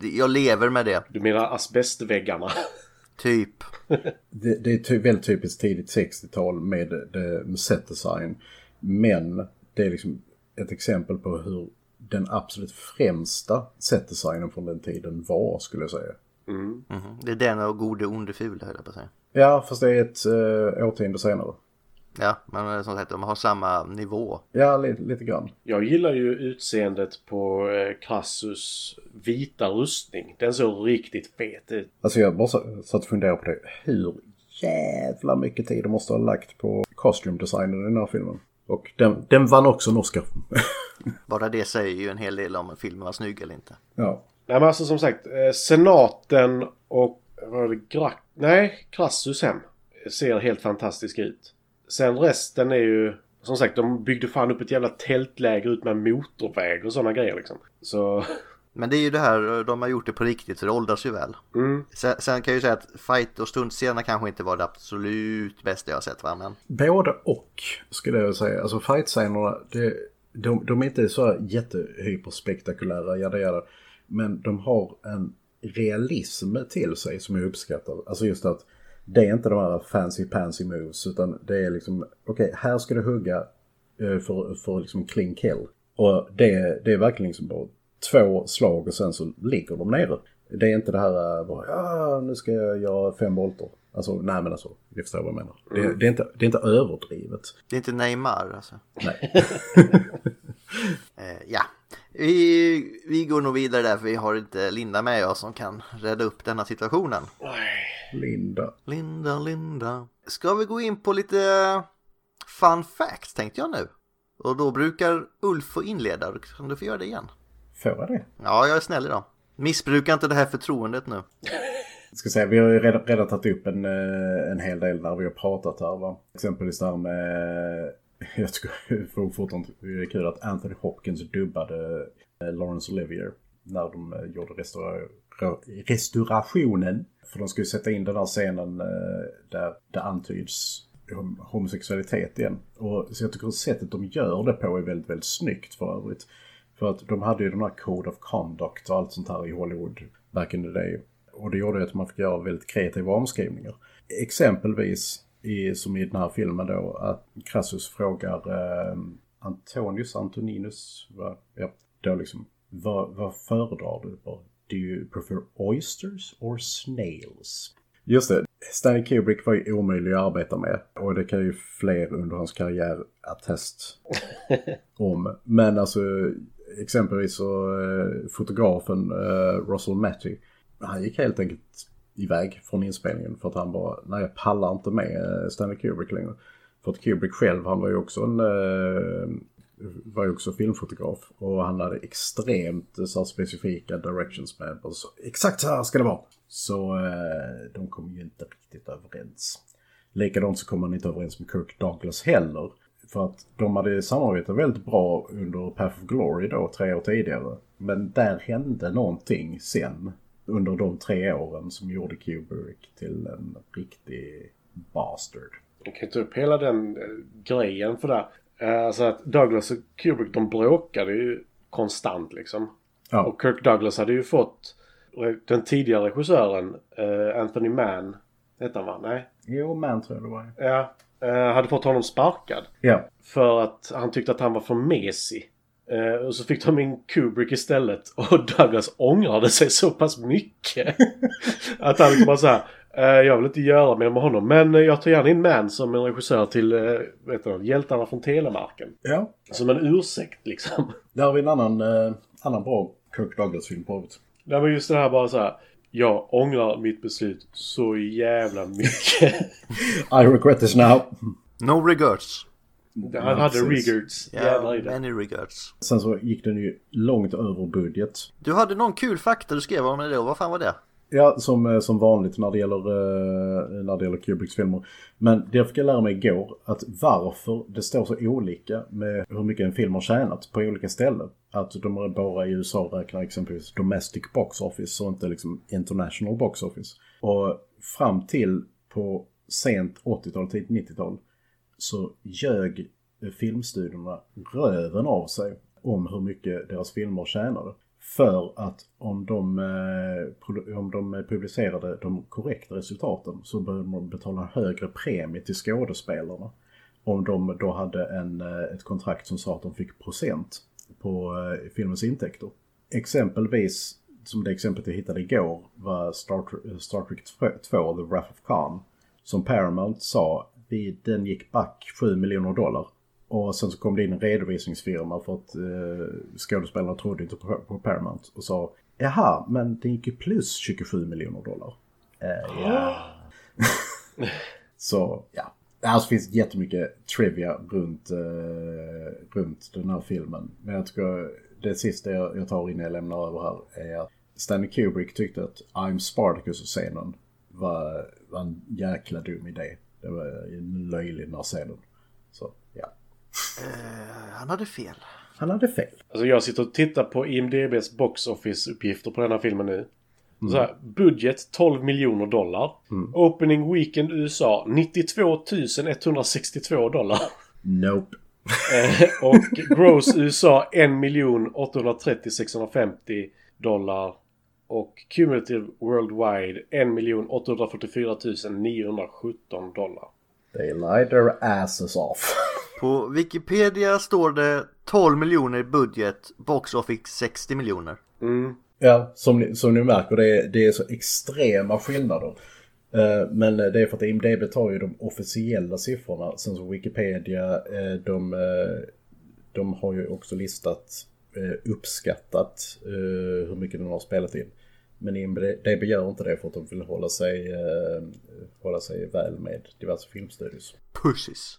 S2: jag lever med det,
S1: Du menar asbestväggarna?
S2: typ.
S3: det, det är ty- väldigt typiskt tidigt 60-tal med, det- med set design. Men det är liksom ett exempel på hur den absolut främsta set designen från den tiden var, skulle jag säga.
S2: Mhm. Det är den och gode, onde, fule höll jag på att säga.
S3: Ja, fast det är ett eh, årtionde senare.
S2: Ja, men eh, som sagt de har samma nivå.
S3: Ja, lite, lite grann.
S1: Jag gillar ju utseendet på eh, Crassus vita rustning. Den såg riktigt fet ut.
S3: Alltså jag bara sa- satt och funderade på det. Hur jävla mycket tid de måste ha lagt på costume designen i den här filmen. Och den, den vann också en Oscar.
S2: Bara det säger ju en hel del om filmen var snygg eller inte.
S3: ja.
S1: Nej men alltså som sagt, eh, senaten och... Vad var det? Grack... Nej, Crassus hem. Ser helt fantastisk ut. Sen resten är ju... Som sagt, de byggde fan upp ett jävla tältläger ut med motorväg och sådana grejer liksom. Så...
S2: Men det är ju det här, eh, de har gjort det på riktigt så det åldras ju väl.
S1: Mm.
S2: Sen, sen kan jag ju säga att fight och stuntscenerna kanske inte var det absolut bästa jag har sett va, men
S3: Både och skulle jag säga. Alltså fightscenerna, det, de, de är inte så här jättehyperspektakulära, jada jada. Men de har en realism till sig som jag uppskattar. Alltså just att det är inte de här fancy pansy moves utan det är liksom, okej här ska du hugga eh, för, för liksom clean kill. Och det, det är verkligen liksom bara två slag och sen så ligger de nere. Det är inte det här eh, bara, ja nu ska jag göra fem volter. Alltså nej men alltså, ni förstår vad jag menar. Det, det, är inte, det är inte överdrivet.
S2: det är inte Neymar alltså.
S3: Nej.
S2: Eh, ja, vi, vi går nog vidare där för vi har inte Linda med oss som kan rädda upp denna situationen.
S3: Linda.
S2: Linda, Linda. Ska vi gå in på lite eh, fun facts tänkte jag nu. Och då brukar Ulf få inleda, Då kan du få göra det igen?
S3: Får jag det?
S2: Ja, jag är snäll idag. Missbruka inte det här förtroendet nu.
S3: Ska säga, vi har ju redan, redan tagit upp en, eh, en hel del när vi har pratat här va. Exempelvis där med... Jag tycker för fortfarande det är kul att Anthony Hopkins dubbade eh, Laurence Olivier när de eh, gjorde restaura- ra- restaurationen. För de skulle sätta in den här scenen eh, där det antyds hom- homosexualitet igen. Och så jag tycker sättet de gör det på är väldigt, väldigt snyggt för övrigt. För att de hade ju den här Code of Conduct och allt sånt här i Hollywood back in the day. Och det gjorde ju att man fick göra väldigt kreativa omskrivningar. Exempelvis, i, som i den här filmen då, att Crassus frågar eh, Antonius Antoninus, va? Ja, då liksom, vad, vad föredrar du? Bara, Do you prefer oysters or snails? Just det, Stanley Kubrick var ju omöjlig att arbeta med och det kan ju fler under hans karriär attest om. Men alltså exempelvis så eh, fotografen eh, Russell Matty, han gick helt enkelt iväg från inspelningen för att han bara, nej jag pallar inte med eh, Stanley Kubrick längre. För att Kubrick själv, han var ju också en eh, var ju också filmfotograf och han hade extremt eh, så här, specifika directions med. Och så, Exakt så här ska det vara! Så eh, de kom ju inte riktigt överens. Likadant så kom man inte överens med Kirk Douglas heller. För att de hade samarbetat väldigt bra under Path of Glory då, tre år tidigare. Men där hände någonting sen under de tre åren som gjorde Kubrick till en riktig bastard.
S1: Jag kan ta upp hela den eh, grejen för det. Eh, Alltså att Douglas och Kubrick de bråkade ju konstant liksom.
S3: Ja.
S1: Och Kirk Douglas hade ju fått re- den tidigare regissören eh, Anthony Mann. Hette han va? Nej.
S3: Jo, man tror jag det var.
S1: Ja. Eh, hade fått honom sparkad.
S3: Ja,
S1: För att han tyckte att han var för mesig. Eh, och så fick de in Kubrick istället. Och Douglas ångrade sig så pass mycket. att han liksom bara såhär. Eh, jag vill inte göra mer med honom. Men eh, jag tar gärna in Man som en regissör till eh, vet du, Hjältarna från Telemarken.
S3: ja.
S1: Som en ursäkt liksom.
S3: Där har vi en annan, eh, annan bra Kirk Douglas-film på övrigt.
S1: Nej men just det här bara så här. Jag ångrar mitt beslut så jävla mycket.
S3: I regret this now.
S2: No regrets.
S1: Han hade
S3: precis.
S1: regards. Jävlar i
S2: Yeah,
S1: det.
S2: many regrets.
S3: Sen så gick den ju långt över budget.
S2: Du hade någon kul fakta du skrev om det då. Vad fan var det?
S3: Ja, som, eh, som vanligt när det, gäller, eh, när det gäller Kubricks filmer. Men det jag fick lära mig igår, att varför det står så olika med hur mycket en film har tjänat på olika ställen. Att de är bara i USA räknar exempelvis domestic box office och inte liksom international box office. Och fram till på sent 80-tal, tidigt 90-tal så ljög filmstudiorna röven av sig om hur mycket deras filmer tjänade. För att om de, eh, produ- om de publicerade de korrekta resultaten så började de betala högre premie till skådespelarna. Om de då hade en, eh, ett kontrakt som sa att de fick procent på eh, filmens intäkter. Exempelvis, som det exemplet jag hittade igår, var Star, Tre- Star Trek 2, The Wrath of Khan. Som Paramount sa, vi, den gick back 7 miljoner dollar. Och sen så kom det in en redovisningsfirma för att eh, skådespelarna trodde inte på, på Paramount. Och sa, jaha, men den gick ju plus 27 miljoner dollar. Eh, ja. så, ja. Alltså finns jättemycket trivia runt, eh, runt den här filmen. Men jag tycker det sista jag, jag tar innan jag lämnar över här är att Stanley Kubrick tyckte att I'm Spartacus-scenen var, var en jäkla dum idé. Det var en löjlig den här scenen. Så, ja.
S2: Han hade fel.
S3: Han hade fel.
S1: Alltså jag sitter och tittar på IMDBs box office-uppgifter på den här filmen nu. Så här, budget 12 miljoner dollar. Opening weekend USA 92 162 dollar.
S3: Nope.
S1: Eh, och gross USA 1 830 650 dollar. Och cumulative worldwide 1 844 917 dollar.
S3: They lied their asses off.
S2: På Wikipedia står det 12 miljoner i budget. Box office 60 miljoner.
S3: Ja, som ni, som ni märker, det är, det är så extrema skillnader. Eh, Men det är för att IMDB tar ju de officiella siffrorna. Sen så Wikipedia, eh, de, eh, de har ju också listat, eh, uppskattat eh, hur mycket de har spelat in. Men IMDB gör inte det för att de vill hålla sig, eh, hålla sig väl med diverse filmstudios.
S2: Pushes.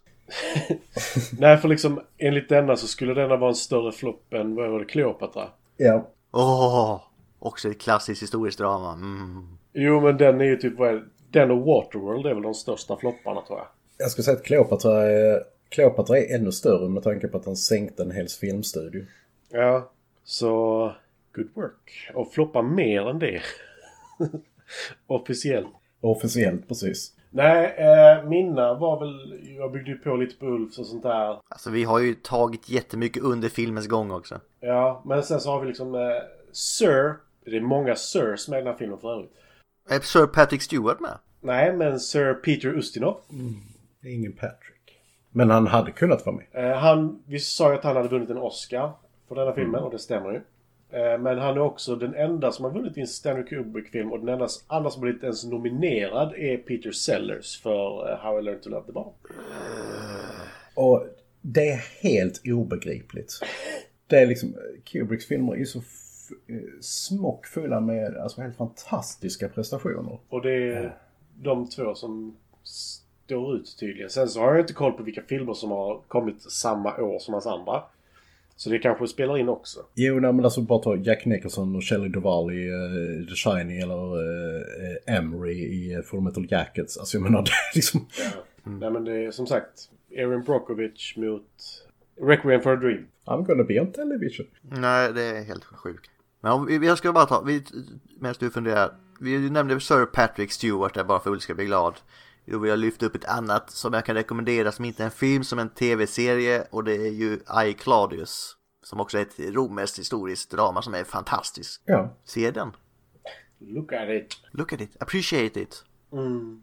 S1: Nej, för liksom enligt denna så skulle denna vara en större flopp än vad var det, Cleopatra.
S3: Ja,
S2: Åh! också ett klassiskt historiskt drama. Mm.
S1: Jo, men den är ju typ... Vad är, den och Waterworld är väl de största flopparna, tror jag.
S3: jag skulle säga att Cleopatra är, Cleopatra är ännu större med tanke på att han sänkte en hel filmstudio.
S1: Ja. Så... Good work. Och floppa mer än det. Officiellt.
S3: Officiellt precis.
S1: Nej, eh, mina var väl... Jag byggde ju på lite på Ulfs och sånt där.
S2: Alltså vi har ju tagit jättemycket under filmens gång också.
S1: Ja, men sen så har vi liksom eh, Sir. Det är många Sirs med i den här filmen för övrigt.
S2: Är Sir Patrick Stewart med?
S1: Nej, men Sir Peter Ustinov.
S3: Det är ingen Patrick. Men han hade kunnat vara med.
S1: Eh, han, vi sa ju att han hade vunnit en Oscar för denna filmen och det stämmer ju. Eh, Men han är också den enda som har vunnit i en Stanley Kubrick-film och den enda s- andra som har blivit ens nominerad är Peter Sellers för eh, How I Learned to Love the Bomb.
S3: Och det är helt obegripligt. Det är liksom, Kubricks filmer är så f- eh, smockfulla med alltså, helt fantastiska prestationer.
S1: Och det är de två som står ut tydligen. Sen så har jag inte koll på vilka filmer som har kommit samma år som hans andra. Så det kanske spelar in också.
S3: Jo, nej, men alltså bara ta Jack Nicholson och Shelley Duvall i eh, The Shining eller uh, Emery i eh, Full Metal Jackets. Alltså jag menar, det är liksom...
S1: Nej men det är som sagt Erin Brockovich mot Requiem for a Dream.
S3: I'm gonna be on television.
S2: Nej, det är helt sjukt. Men om, vi- jag ska bara ta, vi, medan du funderar. Vi nämnde Sir Patrick Stewart där bara för att Ulf ska bli glad. Då vill jag lyfta upp ett annat som jag kan rekommendera som inte är en film som en tv-serie och det är ju I Claudius. Som också är ett romerskt historiskt drama som är fantastiskt.
S3: Ja.
S2: Se den.
S1: Look at it!
S2: Look at it. Appreciate it.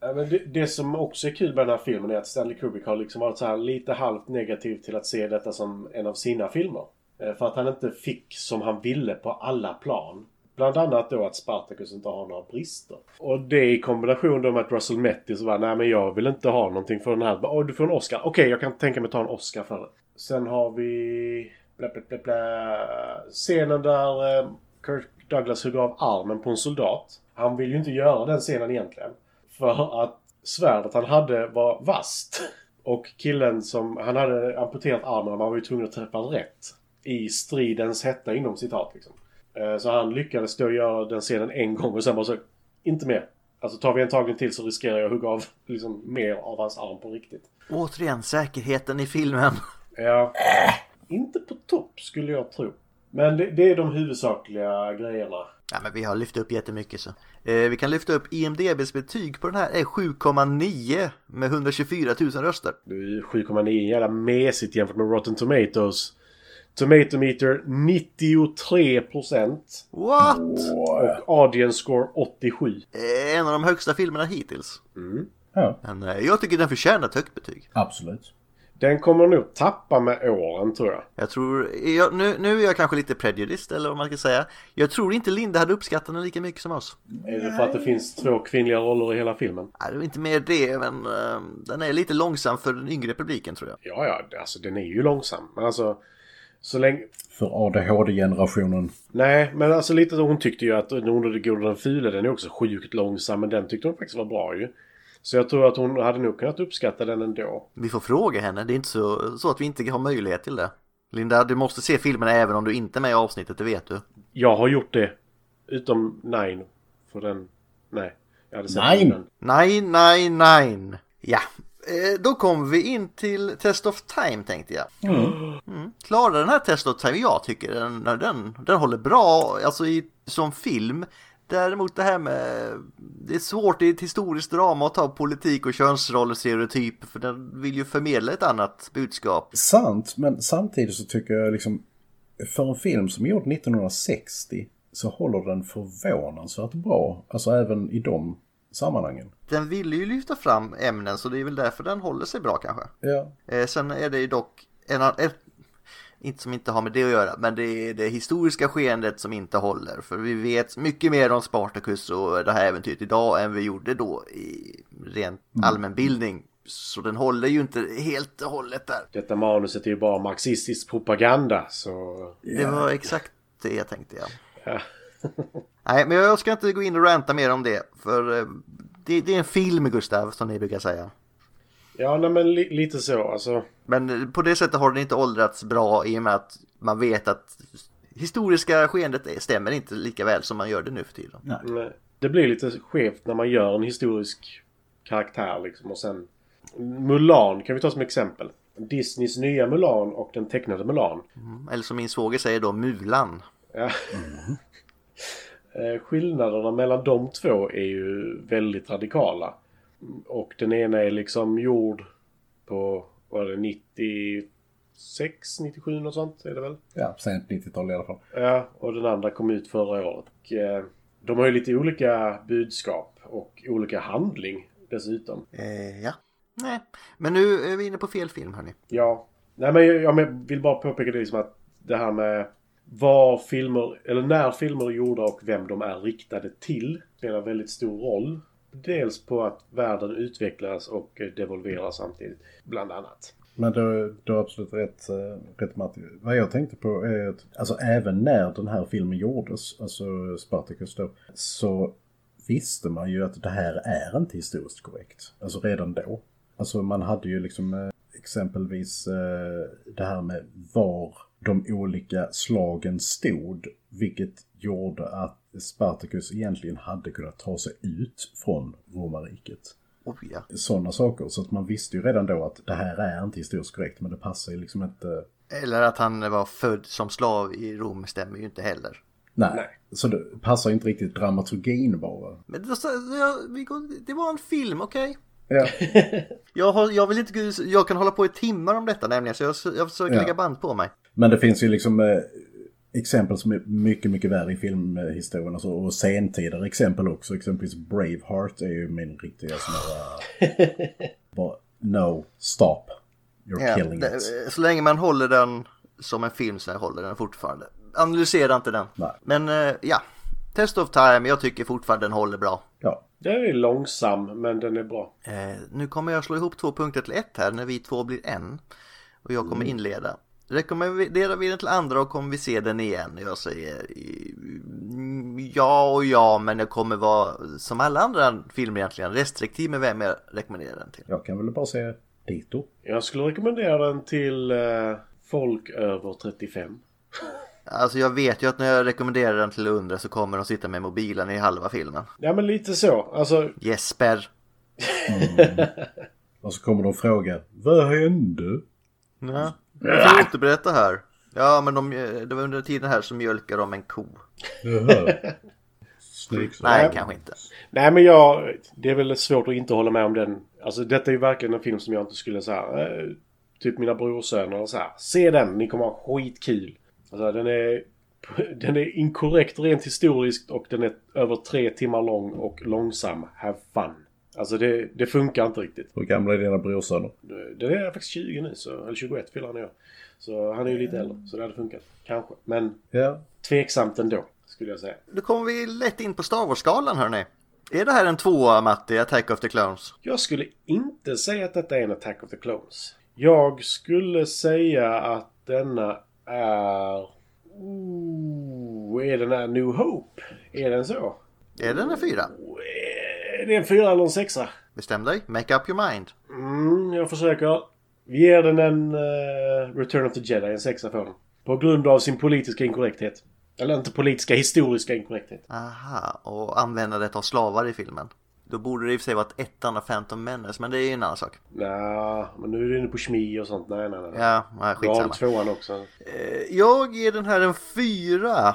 S1: Ja, men det, det som också är kul med den här filmen är att Stanley Kubrick har liksom varit så här lite halvt negativ till att se detta som en av sina filmer. Eh, För att han inte fick som han ville på alla plan. Bland annat då att Spartacus inte har några brister. Och det i kombination då med att Russell Metti så bara nej men jag vill inte ha någonting för den här. Åh du får en Oscar. Okej jag kan tänka mig att ta en Oscar för det. Sen har vi bla, bla, bla, bla. scenen där eh, Kirk Douglas hugger av armen på en soldat. Han vill ju inte göra den scenen egentligen. För att svärdet han hade var vasst. Och killen som... Han hade amputerat armen och han var ju tvungen att träffa rätt. I stridens hetta inom citat liksom. Eh, Så han lyckades då göra den scenen en gång och sen bara så... Inte mer. Alltså tar vi en tagning till så riskerar jag att hugga av liksom mer av hans arm på riktigt.
S2: Återigen, säkerheten i filmen.
S1: Ja. Eh. Inte på topp skulle jag tro. Men det, det är de huvudsakliga grejerna.
S2: Ja, men vi har lyft upp jättemycket så. Eh, vi kan lyfta upp IMDBs betyg på den här Eh, är 7,9 med 124 000 röster.
S1: Det är ju 7,9 jävla mesigt jämfört med Rotten Tomatoes. Tomato meter 93 procent.
S2: What?
S3: eh,
S1: Och audience score 87.
S2: Eh, en av de högsta filmerna hittills.
S3: Ja.
S2: Men eh, jag tycker den förtjänar ett högt betyg.
S3: Absolut.
S1: Den kommer nog tappa med åren tror jag.
S2: Jag tror, eh, jag, nu, nu är jag kanske lite prejudiced eller vad man ska säga. Jag tror inte Linda hade uppskattat den lika mycket som oss.
S1: Är det för att det finns två kvinnliga roller i hela filmen?
S2: Nej, det var inte mer det, men eh, den är lite långsam för den yngre publiken tror jag.
S1: Ja, ja, det- alltså den är ju långsam. Men alltså, så länge...
S3: För ADHD-generationen.
S1: Nej, men alltså lite så hon tyckte ju att Den onde, den gode, den fule, den är också sjukt långsam. Men den tyckte hon faktiskt var bra ju. Så jag tror att hon hade nog kunnat uppskatta den ändå.
S2: Vi får fråga henne, det är inte så, så att vi inte har möjlighet till det. Linda, du måste se filmerna även om du inte är med i avsnittet, det vet du.
S1: Jag har gjort det. Utom Nine. För den... Nej. Jag hade sett
S3: Nine?
S1: den.
S2: Nej, nej, nej. Ja, eh, då kommer vi in till Test of Time tänkte jag. Mm. Klarar den här Test of Time? Jag tycker den, den, den håller bra alltså i, som film. Däremot det här med, det är svårt i ett historiskt drama att ta politik och könsroller stereotyp för den vill ju förmedla ett annat budskap.
S3: Sant, men samtidigt så tycker jag liksom... För en film som är gjord 1960 så håller den förvånansvärt bra. Alltså även i de sammanhangen.
S2: Den ville ju lyfta fram ämnen så det är väl därför den håller sig bra kanske.
S3: Ja.
S2: Eh, sen är det ju dock en annan... Ett, inte som inte har med det att göra, men det är det historiska skeendet som inte håller. För vi vet mycket mer om Spartacus och det här äventyret idag än vi gjorde då i rent allmänbildning. Så den håller ju inte helt och hållet där.
S1: Detta manuset är ju bara marxistisk propaganda. Så...
S2: Det var exakt det jag tänkte jag.
S1: Ja.
S2: Nej, men jag ska inte gå in och ranta mer om det. För eh, det, det är en film, Gustav, som ni brukar säga.
S1: Ja, nej men li- lite så. Alltså,
S2: Men på det sättet har den inte åldrats bra i och med att man vet att historiska skeendet stämmer inte lika väl som man gör det nu för tiden.
S1: mm, det blir lite skevt när man gör en historisk karaktär liksom. Och sen... Mulan kan vi ta som exempel. Disneys nya Mulan och den tecknade Mulan.
S2: Eller som min svåger säger då, Mulan.
S1: Ja. Eh, Skillnaderna mellan de två är ju väldigt radikala. Mm, Och den ena är liksom gjord på, vad är det, 96, 97 något sånt är det väl?
S3: Ja, sent 90-tal i alla fall.
S1: Ja, och den andra kom ut förra året. Och, eh, De har ju lite olika budskap och olika handling dessutom.
S2: Eh, ja. Nej, men nu är vi inne på fel film hörni.
S1: Ja. Nej men jag, jag men- vill bara påpeka det liksom att det här med var filmer, eller när filmer är gjorda och vem de är riktade till spelar väldigt stor roll. Dels på att världen utvecklas och eh, devolverar samtidigt, bland annat.
S3: Men du, du har absolut rätt, eh, rätt Martin. Vad jag tänkte på är att alltså, även när den här filmen gjordes, alltså Spartacus då, så visste man ju att det här är inte historiskt korrekt. Alltså redan då. Alltså man hade ju liksom eh, exempelvis eh, det här med var de olika slagen stod, vilket gjorde att Spartacus egentligen hade kunnat ta sig ut från romarriket
S2: Oh, ja.
S3: sådana saker. Så att man visste ju redan då att det här är inte historiskt korrekt men det passar ju liksom inte.
S2: Eller att han var född som slav i Rom stämmer ju inte heller.
S3: Nej. Så det passar ju inte riktigt dramaturgin bara.
S2: Men det, ja, vi går- det var en film, okej?
S3: Ja.
S2: Jag, har, jag, vill inte, jag kan hålla på i timmar om detta nämligen, så jag, jag försöker
S3: Ja.
S2: lägga band på mig.
S3: Men det finns ju liksom eh, exempel som är mycket, mycket värre i filmhistorien och, så, och sentidare exempel också. Exempelvis Braveheart är ju min riktiga sån här... eh, bara, no, stop. You're
S2: Ja,
S3: killing
S2: det- eh,
S3: it.
S2: Så länge man håller den som en film så håller den fortfarande. Analysera inte den.
S3: Nej.
S2: Men eh, ja, Test of Time, jag tycker fortfarande den håller bra.
S3: Ja.
S1: Den är långsam, men den är bra.
S2: Eh, nu kommer jag slå ihop två punkter till ett här när vi två blir en. Och jag
S3: Mm.
S2: kommer inleda. Rekommenderar vi den till andra och kommer vi se den igen? Jag säger eh, ja och ja, men jag kommer vara som alla andra filmer egentligen restriktiv med vem jag rekommenderar den till.
S3: Jag kan väl bara säga dito.
S1: Jag skulle rekommendera den till eh, folk över 35.
S2: Alltså jag vet ju att när jag rekommenderar den till undra så kommer de sitta med mobilen i halva filmen.
S1: Ja, men lite så. Alltså,
S2: Jesper!
S3: Och så kommer de fråga Vad hände?
S2: Ja. Jag får återberätta här. Ja, men de, eh, det var under tiden här som mjölkar de en ko.
S3: Jaha. Snyggt.
S2: Nej, kanske inte.
S1: nej men jag... Det är väl svårt att inte hålla med om den. Alltså, detta är ju verkligen en film som jag inte skulle så här... Eh, typ mina brorsöner och så här. Se den, ni kommer ha skitkul. Alltså, den är... Den är inkorrekt rent historiskt och den är över tre timmar lång och långsam. Have fun. Alltså det, det funkar inte riktigt.
S3: Hur gamla är dina brorsöner?
S1: Den är faktiskt 20 nu, så, eller 21 fyller han i år. Så han är ju lite äldre, så det hade funkat. Kanske. Men
S3: Ja.
S1: tveksamt ändå, skulle jag säga.
S2: Då kommer vi lätt in på Star Wars-skalan hörni. Är det här en tvåa Matti, Attack of the Clones?
S1: Jag skulle inte säga att detta är en Attack of the Clones. Jag skulle säga att denna är... Ooh, är den här New Hope? Är den så?
S2: Är den en fyra?
S1: Eh, Är det en fyra eller en sexa?
S2: Bestäm dig, make up your mind.
S1: Mm, jag försöker. Vi ger den en eh, Return of the Jedi, en sexa får den. På grund av sin politiska inkorrekthet. Eller inte politiska, historiska inkorrekthet.
S2: Aha, och användandet av slavar i filmen. Då borde det i och för sig varit ettan av Phantom Menace, men det är ju en annan sak.
S1: Nja, men nu är du inne på kemi och sånt. Nej, nej, nej.
S2: Ja, nej,
S1: Då har du
S2: skitsamma.
S1: tvåan också.
S2: Eh, Jag ger den här en fyra.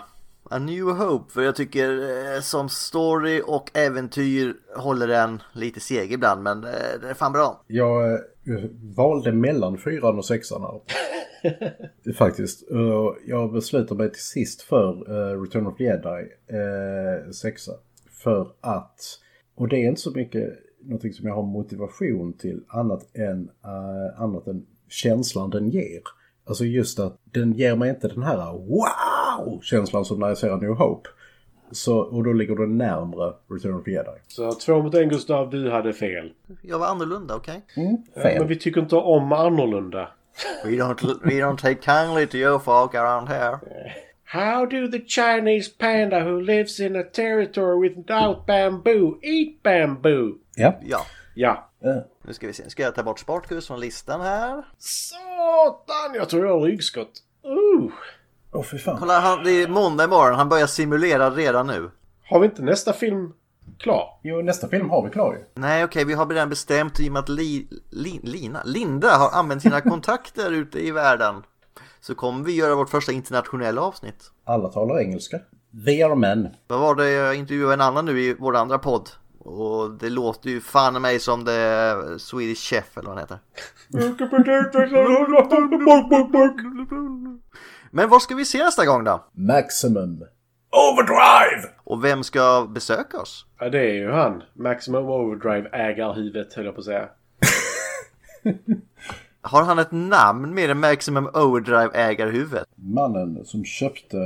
S2: A New Hope, för jag tycker eh, som story och äventyr håller den lite seg ibland, men eh, den är fan bra.
S3: Jag eh, valde mellan fyran och sexan här. Faktiskt. Eh, Jag beslutade mig till sist för eh, Return of the Jedi eh, sexa. För att, och det är inte så mycket någonting som jag har motivation till annat än, eh, annat än känslan den ger. Alltså just att den ger mig inte den här wow-känslan som när jag ser A New Hope. Så, och då ligger den närmre Return of the Jedi.
S1: Så två mot en Gustav, du hade fel.
S2: Jag var annorlunda, okej?
S3: Fel.
S1: Men vi tycker inte om annorlunda.
S2: We don't, we don't take kindly to you folk around here.
S1: How do the Chinese panda who lives in a territory without bamboo eat bamboo?
S3: Ja.
S2: Ja,
S1: Ja.
S3: Eh,
S2: nu ska vi se. Nu ska jag ta bort Sparkus från listan här.
S1: Satan! Jag tror jag har ryggskott. Uh.
S3: Åh fy fan.
S2: Kolla, han, det är måndag morgon. Han börjar simulera redan nu.
S1: Har vi inte nästa film klar?
S3: Jo, nästa film har vi klar ju.
S2: Nej, okej, vi har redan bestämt i och med att li, li, Lina, Linda har använt sina kontakter ute i världen. Så kommer vi göra vårt första internationella avsnitt.
S3: Alla talar engelska. They are men.
S2: Vad var det jag intervjuade en annan nu i vår andra podd? Och det låter ju fan i mig som det Swedish Chef eller vad han heter. Men var ska vi se nästa gång då?
S3: Maximum. Overdrive!
S2: Och vem ska besöka oss?
S1: Ja, det är ju han. Maximum Overdrive ägarhuvudet, höll jag på att säga.
S2: Har han ett namn mer än Maximum Overdrive-ägarhuvudet?
S3: Mannen som köpte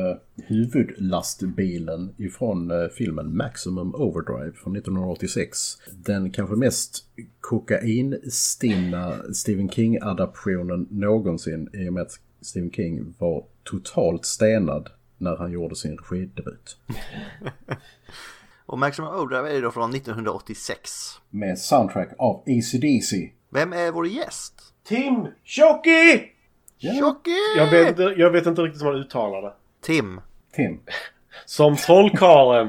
S3: huvudlastbilen ifrån eh, filmen Maximum Overdrive från 1986. Den kanske mest kokainstinna Stephen King-adaptionen någonsin i och med att Stephen King var totalt stenad när han gjorde sin regidebut.
S2: Och Maximum Overdrive är ju då från 1986.
S3: Med soundtrack av ACDC.
S2: Vem är vår gäst?
S1: Tim Tjocki!
S2: Tjocki!
S1: Jag vet, inte- jag vet inte riktigt hur man uttalar det.
S2: Tim.
S3: Tim.
S1: Som trollkarlen.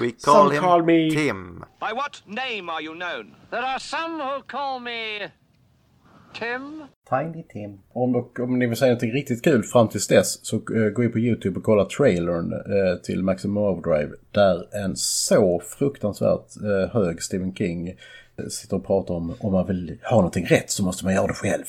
S2: We call
S1: Some
S2: him
S1: call me-
S2: Tim.
S7: By what name are you known? There are some who call me. Tim?
S3: Tiny Tim. Om, och, om ni vill säga något riktigt kul fram tills dess så eh, gå in på YouTube och kolla trailern eh, till Maximum Overdrive. Där en så fruktansvärt eh, hög Stephen King eh, sitter och pratar om om man vill ha någonting rätt så måste man göra det själv.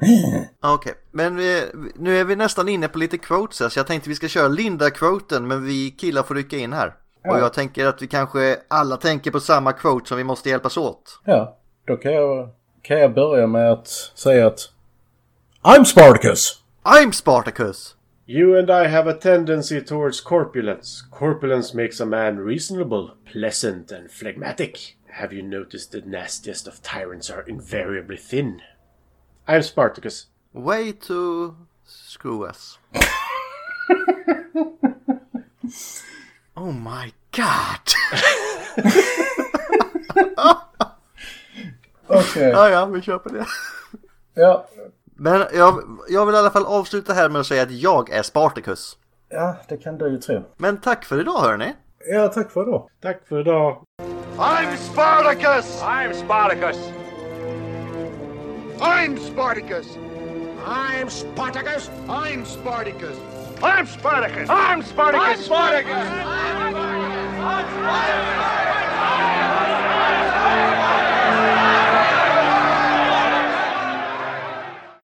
S2: Okej, men vi, nu är vi nästan inne på lite quotes här, så jag tänkte vi ska köra Linda-quoten, men vi killar får rycka in här. Och jag tänker att vi kanske alla tänker på samma quote som vi måste hjälpas åt.
S3: Ja, då kan jag, kan jag börja med att säga att I'm Spartacus!
S2: I'm Spartacus!
S1: You and I have a tendency towards corpulence. Corpulence makes a man reasonable, pleasant, and phlegmatic. Have you noticed the nastiest of tyrants are invariably thin? I'm Spartacus.
S2: Way to screw us. oh my god!
S3: Okej,
S2: ja, ja, vi köper det.
S3: ja.
S2: Men jag, jag vill i alla fall avsluta här med att säga att jag är Spartacus.
S3: ja, det kan du ju tro.
S2: Men tack för idag hörni!
S3: Ja, tack för idag.
S1: Tack för idag.
S4: I'm Spartacus!
S7: I'm Spartacus.
S4: I'm Spartacus! I'm Spartacus! I'm Spartacus! I'm Spartacus!
S7: I'm Spartacus!
S4: I'm Spartacus!
S7: I'm Spartacus!